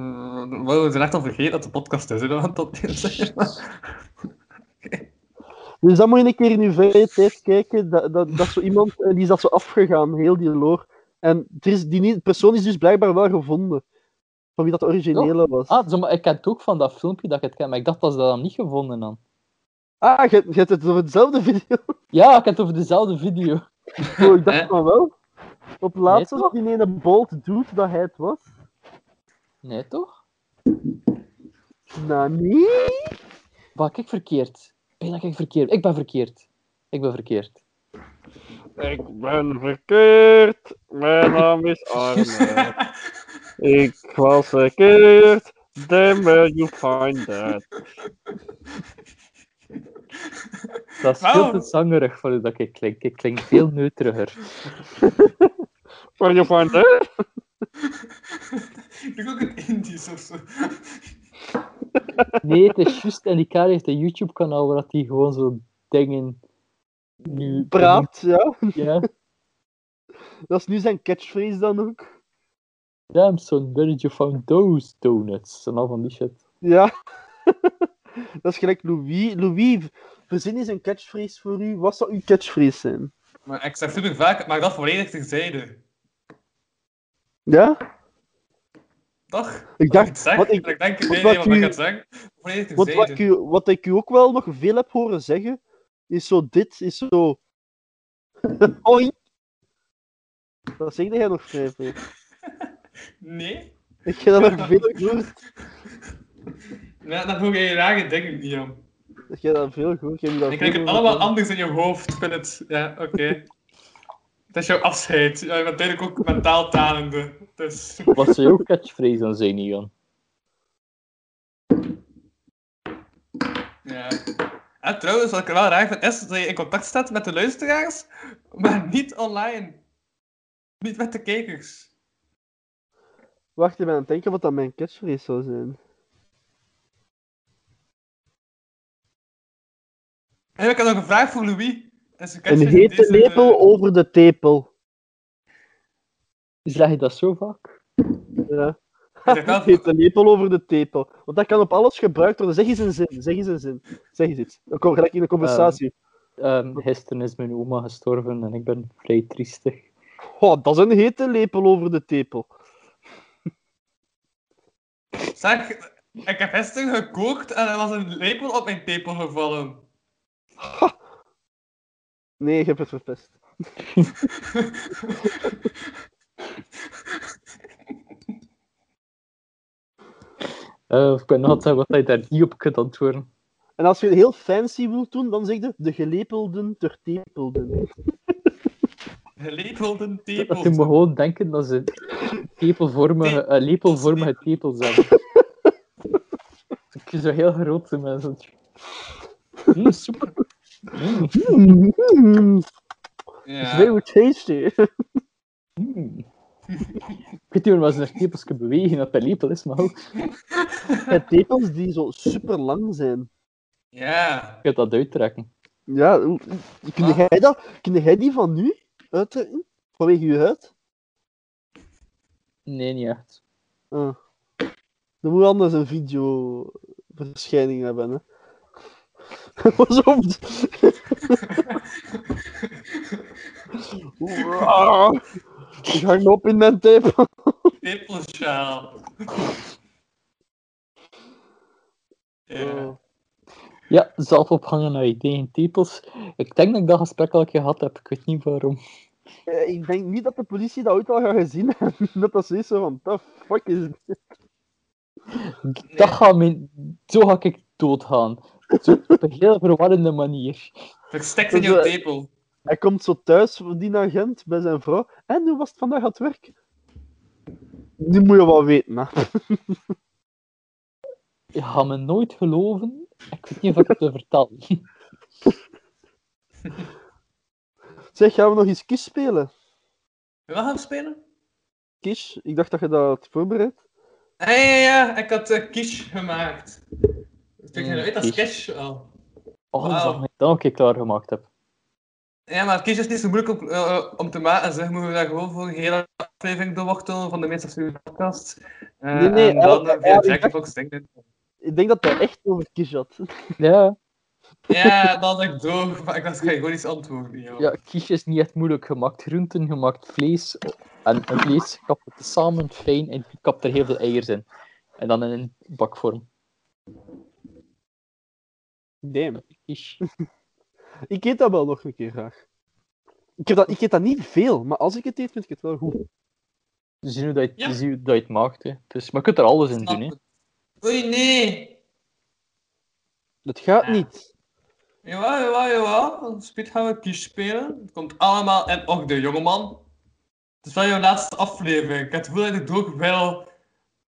Speaker 4: wouden we er echt al vergeten dat de podcast is? hè, Want dat is
Speaker 3: Dus dan moet je een keer in je vrije tijd kijken. Dat, dat, dat zo iemand, eh, die is dat zo afgegaan, heel die lore. En er is, die niet- persoon is dus blijkbaar wel gevonden. Van wie dat de originele was. Ah,
Speaker 5: Ah, zo, maar ik ken het ook van dat filmpje dat ik het ken, maar ik dacht dat ze dat dan niet gevonden hadden.
Speaker 3: Ah, je, je hebt het over hetzelfde video.
Speaker 5: Ja, ik heb het over dezelfde video.
Speaker 3: Oh, ik dacht van wel. Op het laatste
Speaker 5: Nee,
Speaker 3: zag die ene bold dude dat hij het was.
Speaker 5: Nee, toch?
Speaker 3: Nou, nee.
Speaker 5: Wat ik verkeerd? Ben ik verkeerd? Ik ben verkeerd. Ik ben verkeerd.
Speaker 6: Ik ben verkeerd. Mijn naam is Arne. Ik was verkeerd. Damn where you find that.
Speaker 5: Dat is
Speaker 4: Wauw.
Speaker 5: veel te zangerig voor hoe dat ik klink. Ik klink veel neuteriger.
Speaker 6: Where you find that?
Speaker 4: Ik ook een Indisch of zo.
Speaker 5: Nee, het is juist. En die kerel heeft een YouTube-kanaal waar dat hij gewoon zo dingen nu
Speaker 3: Praat, ja.
Speaker 5: Ja,
Speaker 3: Dat is nu zijn catchphrase dan ook.
Speaker 5: damn son, where did you find those donuts? En al van die shit.
Speaker 3: Ja. dat is gelijk Louis. Louis, verzin eens een catchphrase voor u. Wat zou uw catchphrase zijn?
Speaker 4: Maar ik zeg super vaak, maar dat volledig terzijde.
Speaker 3: Ja?
Speaker 4: Toch?
Speaker 3: Ik dacht,
Speaker 4: ik zeg,
Speaker 3: wat ik-
Speaker 4: en ik denk,
Speaker 3: wat-
Speaker 4: nee,
Speaker 3: wat
Speaker 4: nee, wat ik
Speaker 3: u-
Speaker 4: het zeg. Volledig
Speaker 3: Want wat ik,
Speaker 4: terzijde.
Speaker 3: u, wat ik u ook wel nog veel heb horen zeggen, is zo dit, is zo... Oink. Dat zegde jij nog vrij veel.
Speaker 4: Nee?
Speaker 3: Ik heb dat nog veel gehoord.
Speaker 4: Ja, dan hoor je rare dingen, Guillaume.
Speaker 3: Ik heb dat veel gehoord. Ik heb dat veel
Speaker 4: Ik krijg het
Speaker 3: gehoord.
Speaker 4: allemaal anders in je hoofd. Ik vind het... Ja, oké. Dat is jouw afscheid. Ja, je bent eigenlijk ook mentaal talende. Dus...
Speaker 5: Wat zou jouw catchphrase dan zijn, Ian?
Speaker 4: Ja. En trouwens, wat ik er wel raar vind, is dat je in contact staat met de luisteraars, maar niet online. Niet met de kijkers.
Speaker 3: Wacht, ik ben aan het denken wat dat mijn catchphrase zou zijn.
Speaker 4: En ik heb nog een vraag voor Louis. Is eh, een
Speaker 3: Een
Speaker 4: catchphrase
Speaker 3: hete
Speaker 4: deze-
Speaker 3: lepel over de tepel.
Speaker 5: Zeg je dat zo vaak?
Speaker 3: Ja.
Speaker 4: Ik zeg wel-
Speaker 3: Een hete lepel over de tepel. Want dat kan op alles gebruikt worden. Zeg eens een zin, zeg eens een zin. Zeg eens iets. Dan kom gelijk in de conversatie.
Speaker 5: Ehm, gisteren is mijn oma gestorven en ik ben vrij triestig.
Speaker 3: Oh, dat is een hete lepel over de tepel.
Speaker 4: Zeg, ik heb gisteren gekookt en er was een lepel op mijn tepel gevallen.
Speaker 3: Nee, ik heb het verpest.
Speaker 5: Eh, ik ben altijd wat hij daar niet op kunt antwoorden.
Speaker 3: En als je het heel fancy wilt doen, dan zeg je de gelepelden ter tepelden.
Speaker 4: Gelepelde
Speaker 5: Dat je moet
Speaker 4: tepel.
Speaker 5: gewoon denken dat ze tepelvormige, eh, lepelvormige tepels hebben. Ik zo heel grote mensen. Mm, soep. Mm,
Speaker 3: Mm, it's
Speaker 4: Ja.
Speaker 3: very tasty.
Speaker 5: mm. Ik weet niet meer waar ze naar tepels kunnen bewegen, dat dat lepel is, maar ook.
Speaker 3: En tepels die zo super lang zijn.
Speaker 4: ja.
Speaker 5: Je kunt dat uittrekken.
Speaker 3: Ja, oeh, oeh. kun jij, dat, kun jij die van nu uittrekken? Vanwege je huid?
Speaker 5: Nee, niet echt.
Speaker 3: Ah. Dan moet je anders een video verschijning hebben. Hè. Pas op.
Speaker 6: Ah,
Speaker 3: Ik hang me op in mijn tape.
Speaker 4: Pippelsjaal.
Speaker 3: Oh.
Speaker 4: Ja.
Speaker 5: Ja, zelf ophangen naar ideeën en titels. Ik denk dat ik dat gesprek al een keer gehad heb, ik weet niet waarom.
Speaker 3: Eh, Ik denk niet dat de politie dat ooit al gaat gezien hebben. Dat dat zoiets zo van, the fuck is dit?
Speaker 5: Dat gaat mijn... Zo ga ik doodgaan. Zo, op een heel verwarrende manier.
Speaker 4: Verstekt in jouw
Speaker 3: Dus, eh,
Speaker 4: tepel.
Speaker 3: Hij komt zo thuis, die agent, bij zijn vrouw. En hoe was het vandaag aan het werk? Die moet je wel weten, hè.
Speaker 5: Je gaat me nooit geloven. Ik weet niet of ik het te vertellen.
Speaker 3: Zeg, gaan we nog eens kies spelen?
Speaker 4: Wil je gaan spelen?
Speaker 3: Kies? Ik dacht dat je dat had voorbereid.
Speaker 4: Ah, ja, ja, ik had eh, kish gemaakt. Ik
Speaker 5: Mm,
Speaker 4: weet dat is kish al.
Speaker 5: Oh, dat
Speaker 4: Wauw.
Speaker 5: is ik dat ik klaargemaakt heb.
Speaker 4: Ja, maar kish is niet zo moeilijk om, eh, eh, om te maken. Zeg, moeten we daar gewoon voor een hele aflevering doorwachten van de meest afschuwelijke podcast. Eh,
Speaker 3: Nee, nee,
Speaker 4: en dan
Speaker 3: eh,
Speaker 4: eh, via
Speaker 3: eh, ik
Speaker 4: Jackbox, denk ik.
Speaker 3: Ik denk dat hij echt over kies had.
Speaker 5: Ja,
Speaker 4: Ja, dat had ik door, maar ik dacht, ik ga gewoon iets antwoorden. joh.
Speaker 5: ja kiesje is niet echt moeilijk. gemaakt groenten, gemaakt vlees. En het vlees kapt het samen fijn en je kapt er heel veel eiers in. En dan in een bakvorm.
Speaker 3: Damn.
Speaker 5: Kies.
Speaker 3: Ik eet dat wel nog een keer graag. Ik, heb dat, ik eet dat niet veel, maar als ik het eet, vind ik het wel goed.
Speaker 5: Je ziet hoe dat je,
Speaker 4: Ja.
Speaker 5: je ziet hoe dat je het maakt. Hè. Dus, maar je kunt er alles in doen. Hè.
Speaker 4: Oei, nee!
Speaker 3: Dat gaat
Speaker 4: Ja.
Speaker 3: niet.
Speaker 4: Jawel, jawel, jawel. Speed gaan we kies spelen. Het komt allemaal in orde, jongeman. Het is wel jouw laatste aflevering. Ik heb het gevoel dat je droog wel...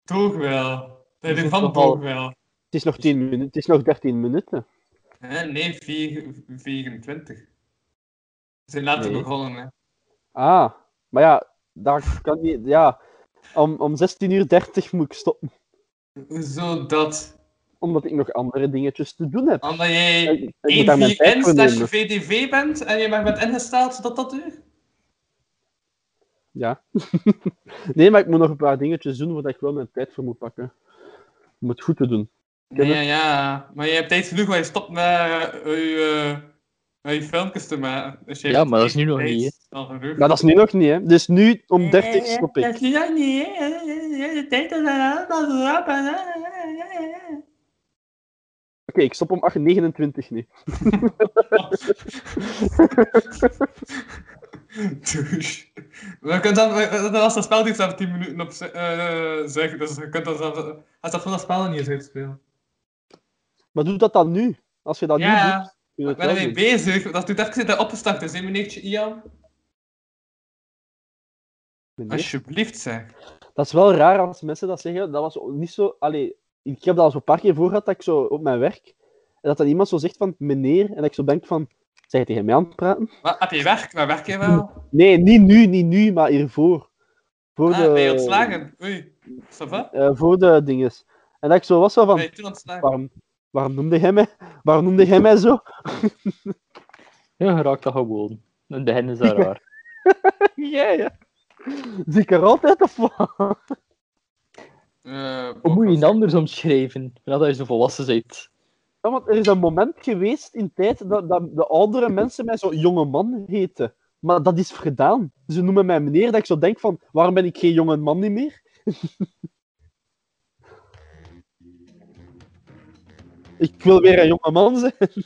Speaker 4: Droog wel. Dat je
Speaker 5: is
Speaker 4: ervan
Speaker 5: nogal-
Speaker 4: droog wel.
Speaker 3: Het is nog,
Speaker 4: Dus-
Speaker 3: 10 minuten, het is nog 13 minuten.
Speaker 4: Hè, Nee, vier- 24. We zijn later
Speaker 3: Nee.
Speaker 4: begonnen, hè.
Speaker 3: Ah, maar ja, daar kan niet. Ja, om, om 16 uur 30 moet ik stoppen,
Speaker 4: Hoezo dat?
Speaker 3: omdat ik nog andere dingetjes te doen heb.
Speaker 4: Omdat
Speaker 3: Ik-
Speaker 4: jij
Speaker 3: ik moet daar mijn
Speaker 4: 1
Speaker 3: tijd
Speaker 4: n
Speaker 3: voor
Speaker 4: slash
Speaker 3: nemen.
Speaker 4: VDV bent en je maar bent ingesteld zodat dat duurt?
Speaker 3: Ja. nee, maar ik moet nog een paar dingetjes doen waar ik wel mijn tijd voor moet pakken. Om het goed te doen.
Speaker 4: Ja,
Speaker 3: Ken
Speaker 4: ja, ja. Maar je hebt tijd genoeg waar je stopt met eh, je, eh, met je filmpjes te maken. Dus je
Speaker 5: Ja,
Speaker 4: hebt
Speaker 5: maar dat is
Speaker 4: tijd-
Speaker 5: nu nog
Speaker 4: tijd
Speaker 5: niet,
Speaker 4: al genoeg.
Speaker 3: Maar dat is nu nog niet, hè? Dus nu om 30 stop ik.
Speaker 4: is nog niet, hè. De tijd is aan
Speaker 3: Oké, ik stop om 8.29 nu.
Speaker 4: Douche. Maar je kunt dan, dat was dat spel die zelf 10 minuten op ze- eh, zegt, dus je kunt dat zelf, als dat van dat spel dan niet eens spelen.
Speaker 3: Maar doe dat dan nu. Als je dat nu doet,
Speaker 4: Ja,
Speaker 3: kun je
Speaker 4: ik
Speaker 3: het
Speaker 4: ben
Speaker 3: wel
Speaker 4: ermee
Speaker 3: doen.
Speaker 4: bezig. Dat doet even zitten eh, opgestart, is, hè, meneertje Ian?
Speaker 3: Meneer.
Speaker 4: Alsjeblieft, zeg.
Speaker 3: Dat is wel raar als mensen dat zeggen. Dat was niet zo. Allee, ik heb dat al zo'n paar keer voor gehad dat ik zo op mijn werk. En dat dan iemand zo zegt van meneer. En dat ik zo denk van. Zeg je tegen mij aan het praten?
Speaker 4: Maar heb je werk? Waar werk je wel?
Speaker 3: Nee, niet nu, niet nu, maar hiervoor. Voor
Speaker 4: Ah,
Speaker 3: de,
Speaker 4: ben je ontslagen? Oei, ça va?
Speaker 3: eh, voor de dinges. En dat ik zo was zo van.
Speaker 4: Ben je toen ontslagen?
Speaker 3: Waarom, waarom noemde hij mij? Waarom noemde hij mij zo?
Speaker 5: Ja, je raakt dat gewoon. Het begin is dat raar.
Speaker 3: Ja, ja. Zie ik er altijd of wat?
Speaker 4: Eh,
Speaker 5: Hoe moet je het anders omschrijven? Nadat je zo volwassen bent.
Speaker 3: Ja, want er is een moment geweest in tijd dat, dat de oudere mensen mij zo jonge man heten. Maar dat is gedaan. Ze noemen mij meneer, dat ik zo denk van, waarom ben ik geen jonge man niet meer? ik wil weer een jonge man zijn.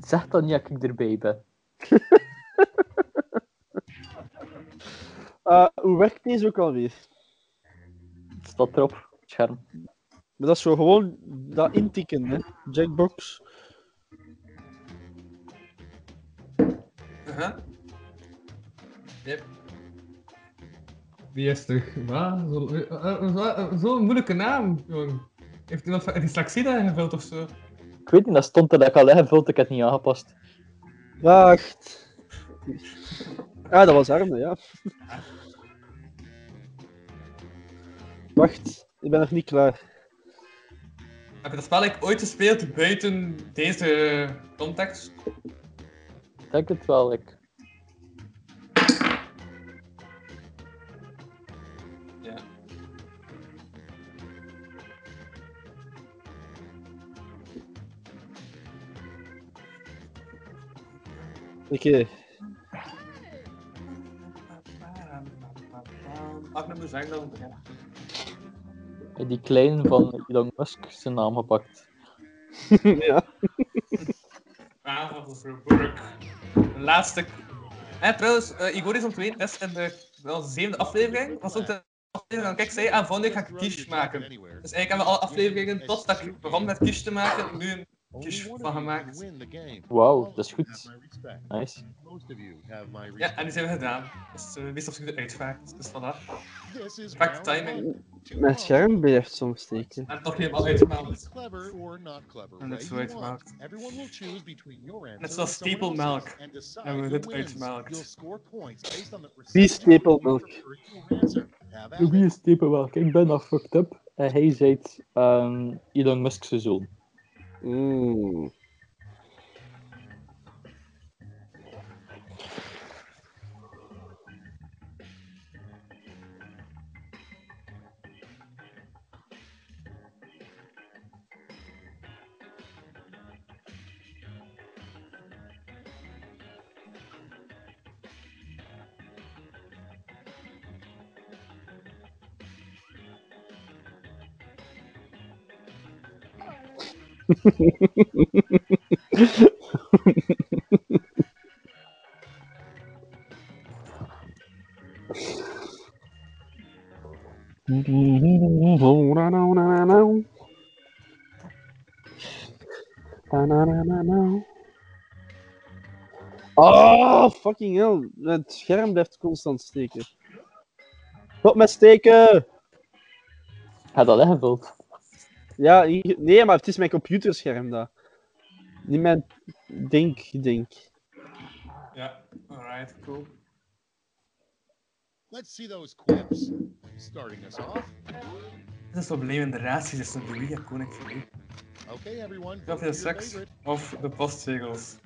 Speaker 5: Zeg dan niet dat ik erbij ben.
Speaker 3: Eh, hoe werkt deze ook alweer?
Speaker 5: Staat erop. op het Scherm.
Speaker 3: Maar dat is zo gewoon dat intikken, hè. Jackbox.
Speaker 4: Aha. Yep. Die is terug. Wat? Zo'n eh, eh, eh, zo'n moeilijke naam, jong. Heeft iemand van- dyslexie daar ingevuld of zo?
Speaker 5: Ik weet niet, dat stond er dat ik al ingevuld, ik heb het niet aangepast.
Speaker 3: Wacht. Ah, dat was Arne, ja. Wacht, ik ben nog niet klaar.
Speaker 4: Heb je dat spel eigenlijk ooit gespeeld buiten deze context?
Speaker 5: Ik denk het wel. Ik...
Speaker 4: Ja.
Speaker 3: Oké.
Speaker 4: Mag ik nog zeggen dat we beginnen?
Speaker 5: Die kleine van Elon Musk zijn naam gepakt.
Speaker 3: ja.
Speaker 4: Aanval voor Burk. De laatste. En trouwens, eh, Igor is om te weten, dat is in de wel, zevende aflevering. Was ook de aflevering van Kijk, zei aan volgende week ga ik kish maken. Dus eigenlijk hebben we alle afleveringen totdat ik begon met kish te maken, nu een kish van gemaakt.
Speaker 5: Wauw, dat is goed. Nice.
Speaker 4: Ja, en die zijn we gedaan. Dus uh, meestal zien we uitvaart. Dus voilà. Perfecte timing.
Speaker 3: Mijn scherm blijft soms steken.
Speaker 4: En toch helemaal uitgemaakt.
Speaker 7: Clever or not clever,
Speaker 4: En dat is
Speaker 7: way
Speaker 4: wel
Speaker 7: you want.
Speaker 4: uitgemelkt.
Speaker 7: Everyone will choose between your answer
Speaker 4: Net zoals
Speaker 7: and someone
Speaker 4: stapelmelk.
Speaker 7: else's and decide
Speaker 4: Hebben we
Speaker 7: who
Speaker 4: dit
Speaker 7: wins.
Speaker 4: uitgemelkt.
Speaker 7: You'll score points based on the
Speaker 3: Wie
Speaker 7: percentage of
Speaker 3: stapelmelk?
Speaker 7: people who prefer your answer. Have at it.
Speaker 5: Louis is type wel. Ik ben al fucked up. En hij zijt ehm Elon Musk's zoon.
Speaker 3: Mm. Oh, fucking hell. Het scherm blijft constant steken. Stop met steken!
Speaker 5: Had dat ingevuld.
Speaker 3: Ja, hier- nee, maar het is mijn computerscherm daar. Niet mijn dink, dink.
Speaker 4: Ja, alright, cool.
Speaker 7: Let's see those quips. Starting us off.
Speaker 4: Dit is het probleem in de relaties, is een Louis en Koning voor u.
Speaker 7: Okay, everyone.
Speaker 4: Of de
Speaker 7: vote for your
Speaker 4: seks,
Speaker 7: favorite.
Speaker 4: of de postzegels.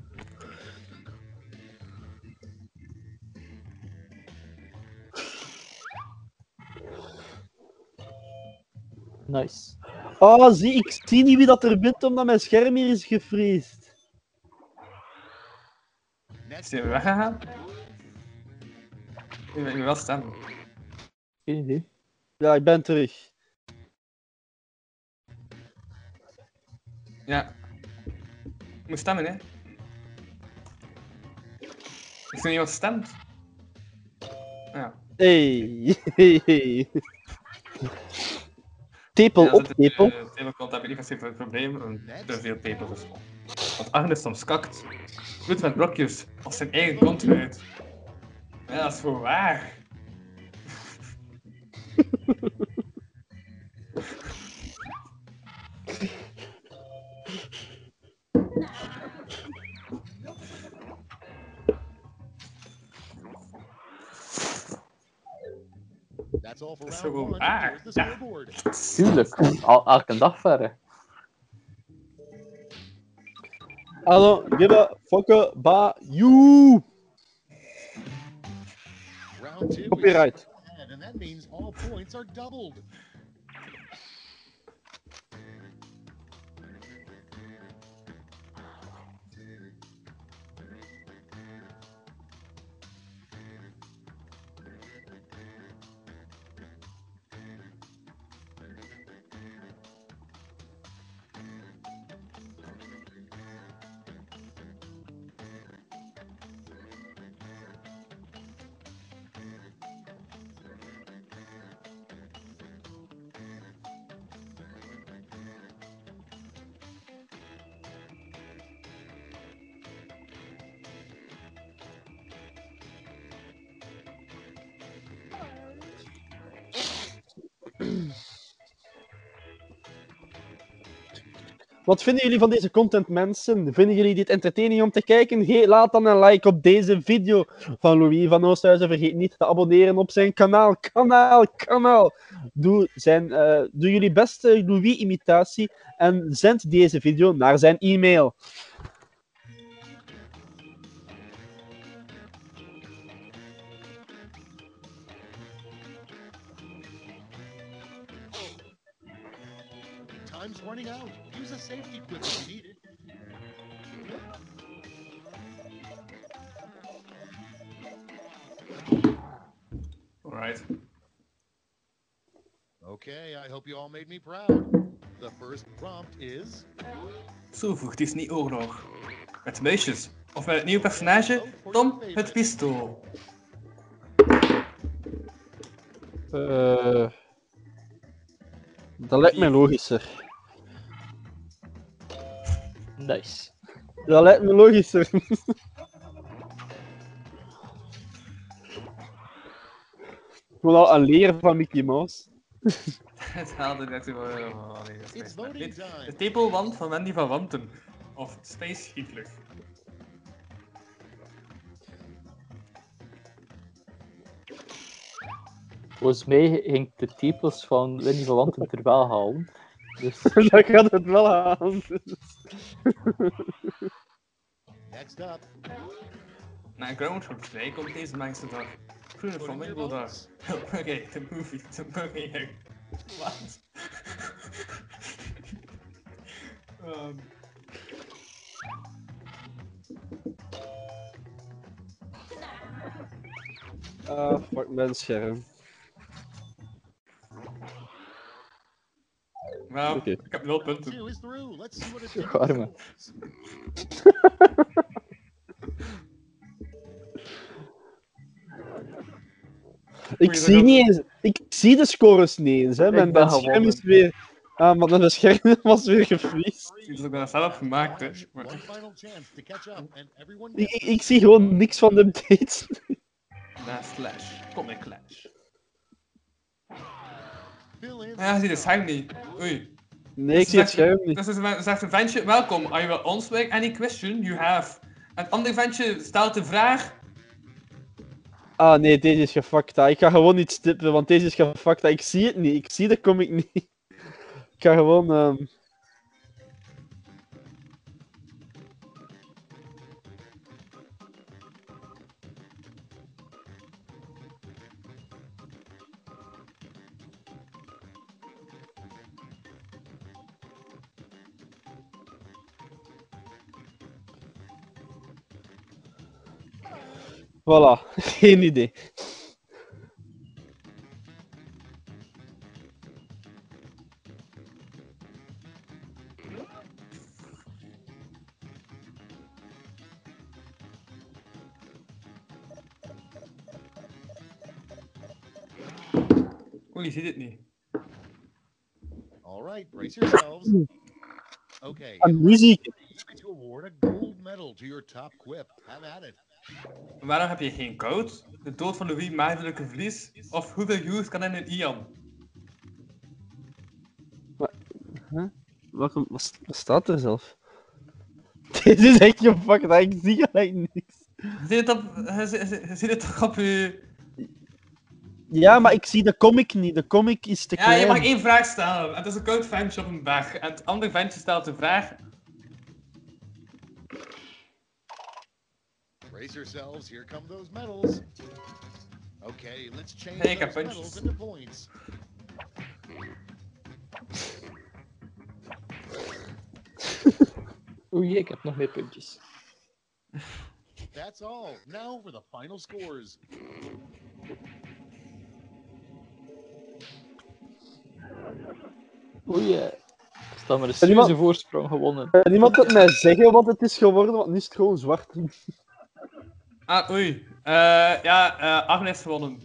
Speaker 5: Nice.
Speaker 3: Oh, zie, ik zie niet wie dat er bent omdat mijn scherm hier is gevreesd.
Speaker 7: Next,
Speaker 4: Zijn we weggegaan? Ik ben ik ben wel staan.
Speaker 5: Geen idee.
Speaker 3: Ja, ik ben terug.
Speaker 4: Ja. Ik moet stemmen, hè? Is er iemand stemt? Ja.
Speaker 3: Hey. hey. Tepel
Speaker 4: ja,
Speaker 3: op
Speaker 4: dat is,
Speaker 3: tepel.
Speaker 4: eh, Tepelkant heb ik niet zo'n probleem. een- Te veel tepel is. Want Agnes soms kakt. Goed met brokjes. Als zijn eigen kont uit. Ja, dat is voor waar.
Speaker 7: that's all for
Speaker 4: That's
Speaker 7: round
Speaker 4: so
Speaker 7: one.
Speaker 4: bad.
Speaker 7: Here's the scoreboard.
Speaker 5: Tuurlijk. Al, elke dag verder.
Speaker 3: Hallo, give a fuck ba you.
Speaker 7: Round two. is
Speaker 3: Copyright.
Speaker 7: ahead, And that means all points are doubled.
Speaker 3: Wat vinden jullie van deze content, mensen? Vinden jullie dit entertaining om te kijken? Ge- laat dan een like op deze video van Louis van Oosthuizen. Vergeet niet te abonneren op zijn kanaal. Kanaal, kanaal. Doe, zijn, eh, doe jullie beste Louis-imitatie en zend deze video naar zijn e-mail.
Speaker 7: Time's running out. Use a safety quip if needed. Okay, I hope you all made me proud. The first prompt is
Speaker 4: Zo voegt is niet oorlog. Met meisjes. Of met het nieuwe personage, Tom het pistool.
Speaker 6: Eh,
Speaker 3: Dat lijkt me logischer.
Speaker 5: Nice.
Speaker 3: Dat lijkt me logischer. Ik wil al aan leren van Mickey Mouse.
Speaker 4: Het haalde net zo van... oh, nee, dat
Speaker 7: It's
Speaker 4: is mijn- Dit-
Speaker 7: voting time.
Speaker 4: De tepelwand van Wendy van Wanten. Of Space Hitler.
Speaker 5: Volgens mij ging ik de tepels van Wendy van Wanten er wel halen. Dus
Speaker 3: Dat gaat het wel aan.
Speaker 7: Next up,
Speaker 4: Na Groundhog Day komt deze mengste dag. Groene
Speaker 7: put in your
Speaker 4: flamingo dag.
Speaker 7: votes.
Speaker 4: Oké, de movie, de movie. Wat? Ehm.
Speaker 3: Ah, fuck mijn scherm.
Speaker 4: Nou,
Speaker 3: Oké.
Speaker 4: ik heb nul punten.
Speaker 7: Two is through. Let's see what it did.
Speaker 5: Arme.
Speaker 3: Ik zie, niet eens, ik zie de scores niet eens. Hè. Mijn,
Speaker 5: ben
Speaker 3: mijn scherm
Speaker 5: gewonnen.
Speaker 3: is weer. Ah, maar mijn scherm was weer gevriest.
Speaker 4: Het is ook wel zelf gemaakt, hè. Maar-
Speaker 7: One final chance to catch up, and everyone
Speaker 3: Ik,
Speaker 7: gets
Speaker 3: ik, ik zie gewoon niks van de updates.
Speaker 4: Na Slash. Kom in Clash.
Speaker 7: fill in.
Speaker 4: Ja, zie de scherm niet. Oei.
Speaker 3: Nee, ik zie het scherm niet.
Speaker 4: Dus ze zegt- zegt een ventje, welkom, are you on swag? Any question you have? En het andere ventje stelt de vraag,
Speaker 3: Ah nee, deze is gefuckt. hè. Ik ga gewoon niet stippen, want deze is gefuckt. hè. Ik zie het niet. Ik zie de comic niet. Ik ga gewoon. ehm, Voilà, geen idee.
Speaker 4: oei, je ziet het niet.
Speaker 7: All right, brace yourselves. Okay,
Speaker 3: Aan muziek.
Speaker 7: it's time to award a gold medal to your top quip. Have at it.
Speaker 4: Waarom heb je geen koud? De dood van Louis maagdelijke verlies? Of hoeveel youth kan in een Ian?
Speaker 3: Welkom, wat, wat staat er zelf? Deze is echt gefuckt. hè. Ik zie gelijk niks.
Speaker 4: Je ziet het op, je ziet- je ziet het toch op je...
Speaker 3: Ja, maar ik zie de comic niet. De comic is te
Speaker 4: Ja,
Speaker 3: klein.
Speaker 4: je mag één vraag stellen. Het is een koud ventje op een berg. En het andere ventje stelt de vraag,
Speaker 7: Brace yourselves. Here come those medals. Okay, let's change
Speaker 4: Hey, ik heb
Speaker 7: those
Speaker 4: puntjes.
Speaker 7: medals into points.
Speaker 5: oei, ik heb nog meer puntjes.
Speaker 7: That's all. Now for the final scores.
Speaker 5: Oei, eh, ik sta maar een
Speaker 3: Is er iemand-
Speaker 5: serieuze voorsprong gewonnen.
Speaker 3: Eh, Niemand kan mij zeggen wat het is geworden, want nu is het gewoon zwart.
Speaker 4: ah, oei. Eh, ja, eh Agnes gewonnen.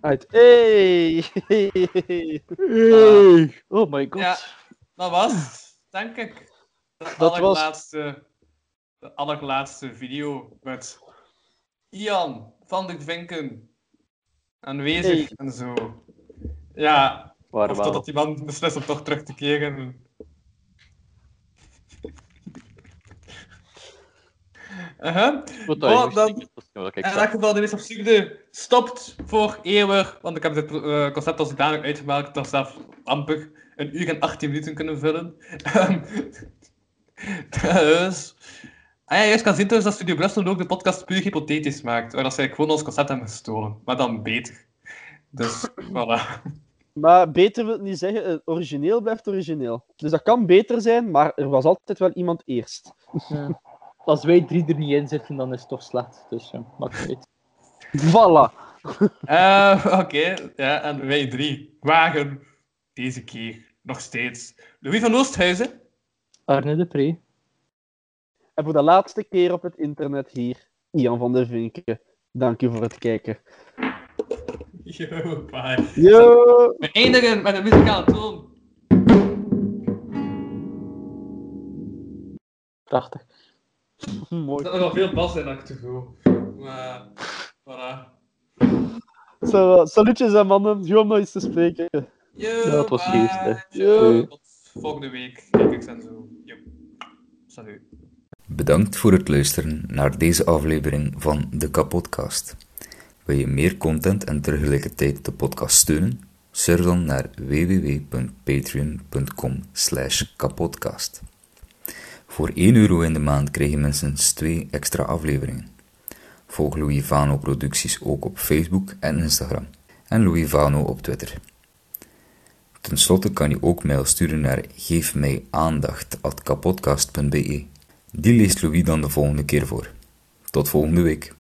Speaker 3: Uit. Hey! Hey!
Speaker 5: Hey. Oh my god.
Speaker 4: Ja, dat was het, denk ik. De
Speaker 3: Dat was-
Speaker 4: allerlaatste, de allerlaatste video met Ian van de Vinken aanwezig
Speaker 3: Hey.
Speaker 4: en zo. Ja,
Speaker 5: Waar
Speaker 4: of
Speaker 5: wel.
Speaker 4: totdat die man beslist om toch terug te keren. Aha.
Speaker 5: Wat
Speaker 4: Bon,
Speaker 5: dat je
Speaker 4: dan-
Speaker 5: moest, dat is wat ik
Speaker 4: In
Speaker 5: zei.
Speaker 4: elk geval, de meest absurde stopt voor eeuwig. Want ik heb dit eh, concept als duidelijk uitgewerkt dat zelf amper een uur en 18 minuten kunnen vullen. Ehm, dus. Ah ja, juist kan zien dus dat Studio Brussel ook de podcast puur hypothetisch maakt. Waar dat ze eigenlijk gewoon ons concept hebben gestolen. Maar dan beter. Dus, voilà.
Speaker 3: Maar beter wil het niet zeggen, het origineel blijft origineel. Dus dat kan beter zijn, maar er was altijd wel iemand eerst.
Speaker 5: Ja. Als wij drie er niet in zitten, dan is het toch slecht. Dus ja, maakt niet uit.
Speaker 3: Voilà.
Speaker 4: Eh, Oké, ja, en wij drie. Wagen. Deze keer. Nog steeds. Louis van Oosthuizen.
Speaker 5: Arne de Pre.
Speaker 3: En voor de laatste keer op het internet hier, Ian van der Vinken. Dank u voor het kijken.
Speaker 4: Yo, bye.
Speaker 6: Yo!
Speaker 4: We eindigen met een muzikale toon.
Speaker 5: Prachtig.
Speaker 4: Er
Speaker 3: Mooi.
Speaker 4: zat nogal veel bas in, had ik te veel. Maar, voilà.
Speaker 3: Zo, eh, salutjes aan mannen. Goed om nog eens te spreken.
Speaker 4: Yo,
Speaker 5: Dat was
Speaker 4: bye.
Speaker 5: liefst, hè.
Speaker 4: Yo,
Speaker 5: Doei.
Speaker 4: Tot volgende week. Kijk, ik en zo. Yo. Salut.
Speaker 8: Bedankt voor het luisteren naar deze aflevering van de Kapodcast. Wil je meer content en tegelijkertijd de podcast steunen? Surf dan naar www.patreon.com kapodcast. Voor 1 euro in de maand krijg je minstens 2 extra afleveringen. Volg Louis Vano producties ook op Facebook en Instagram. En Louis Vano op Twitter. Ten slotte kan je ook mail sturen naar geefmijaandacht.kapodcast.be. Die leest Louis dan de volgende keer voor. Tot volgende week.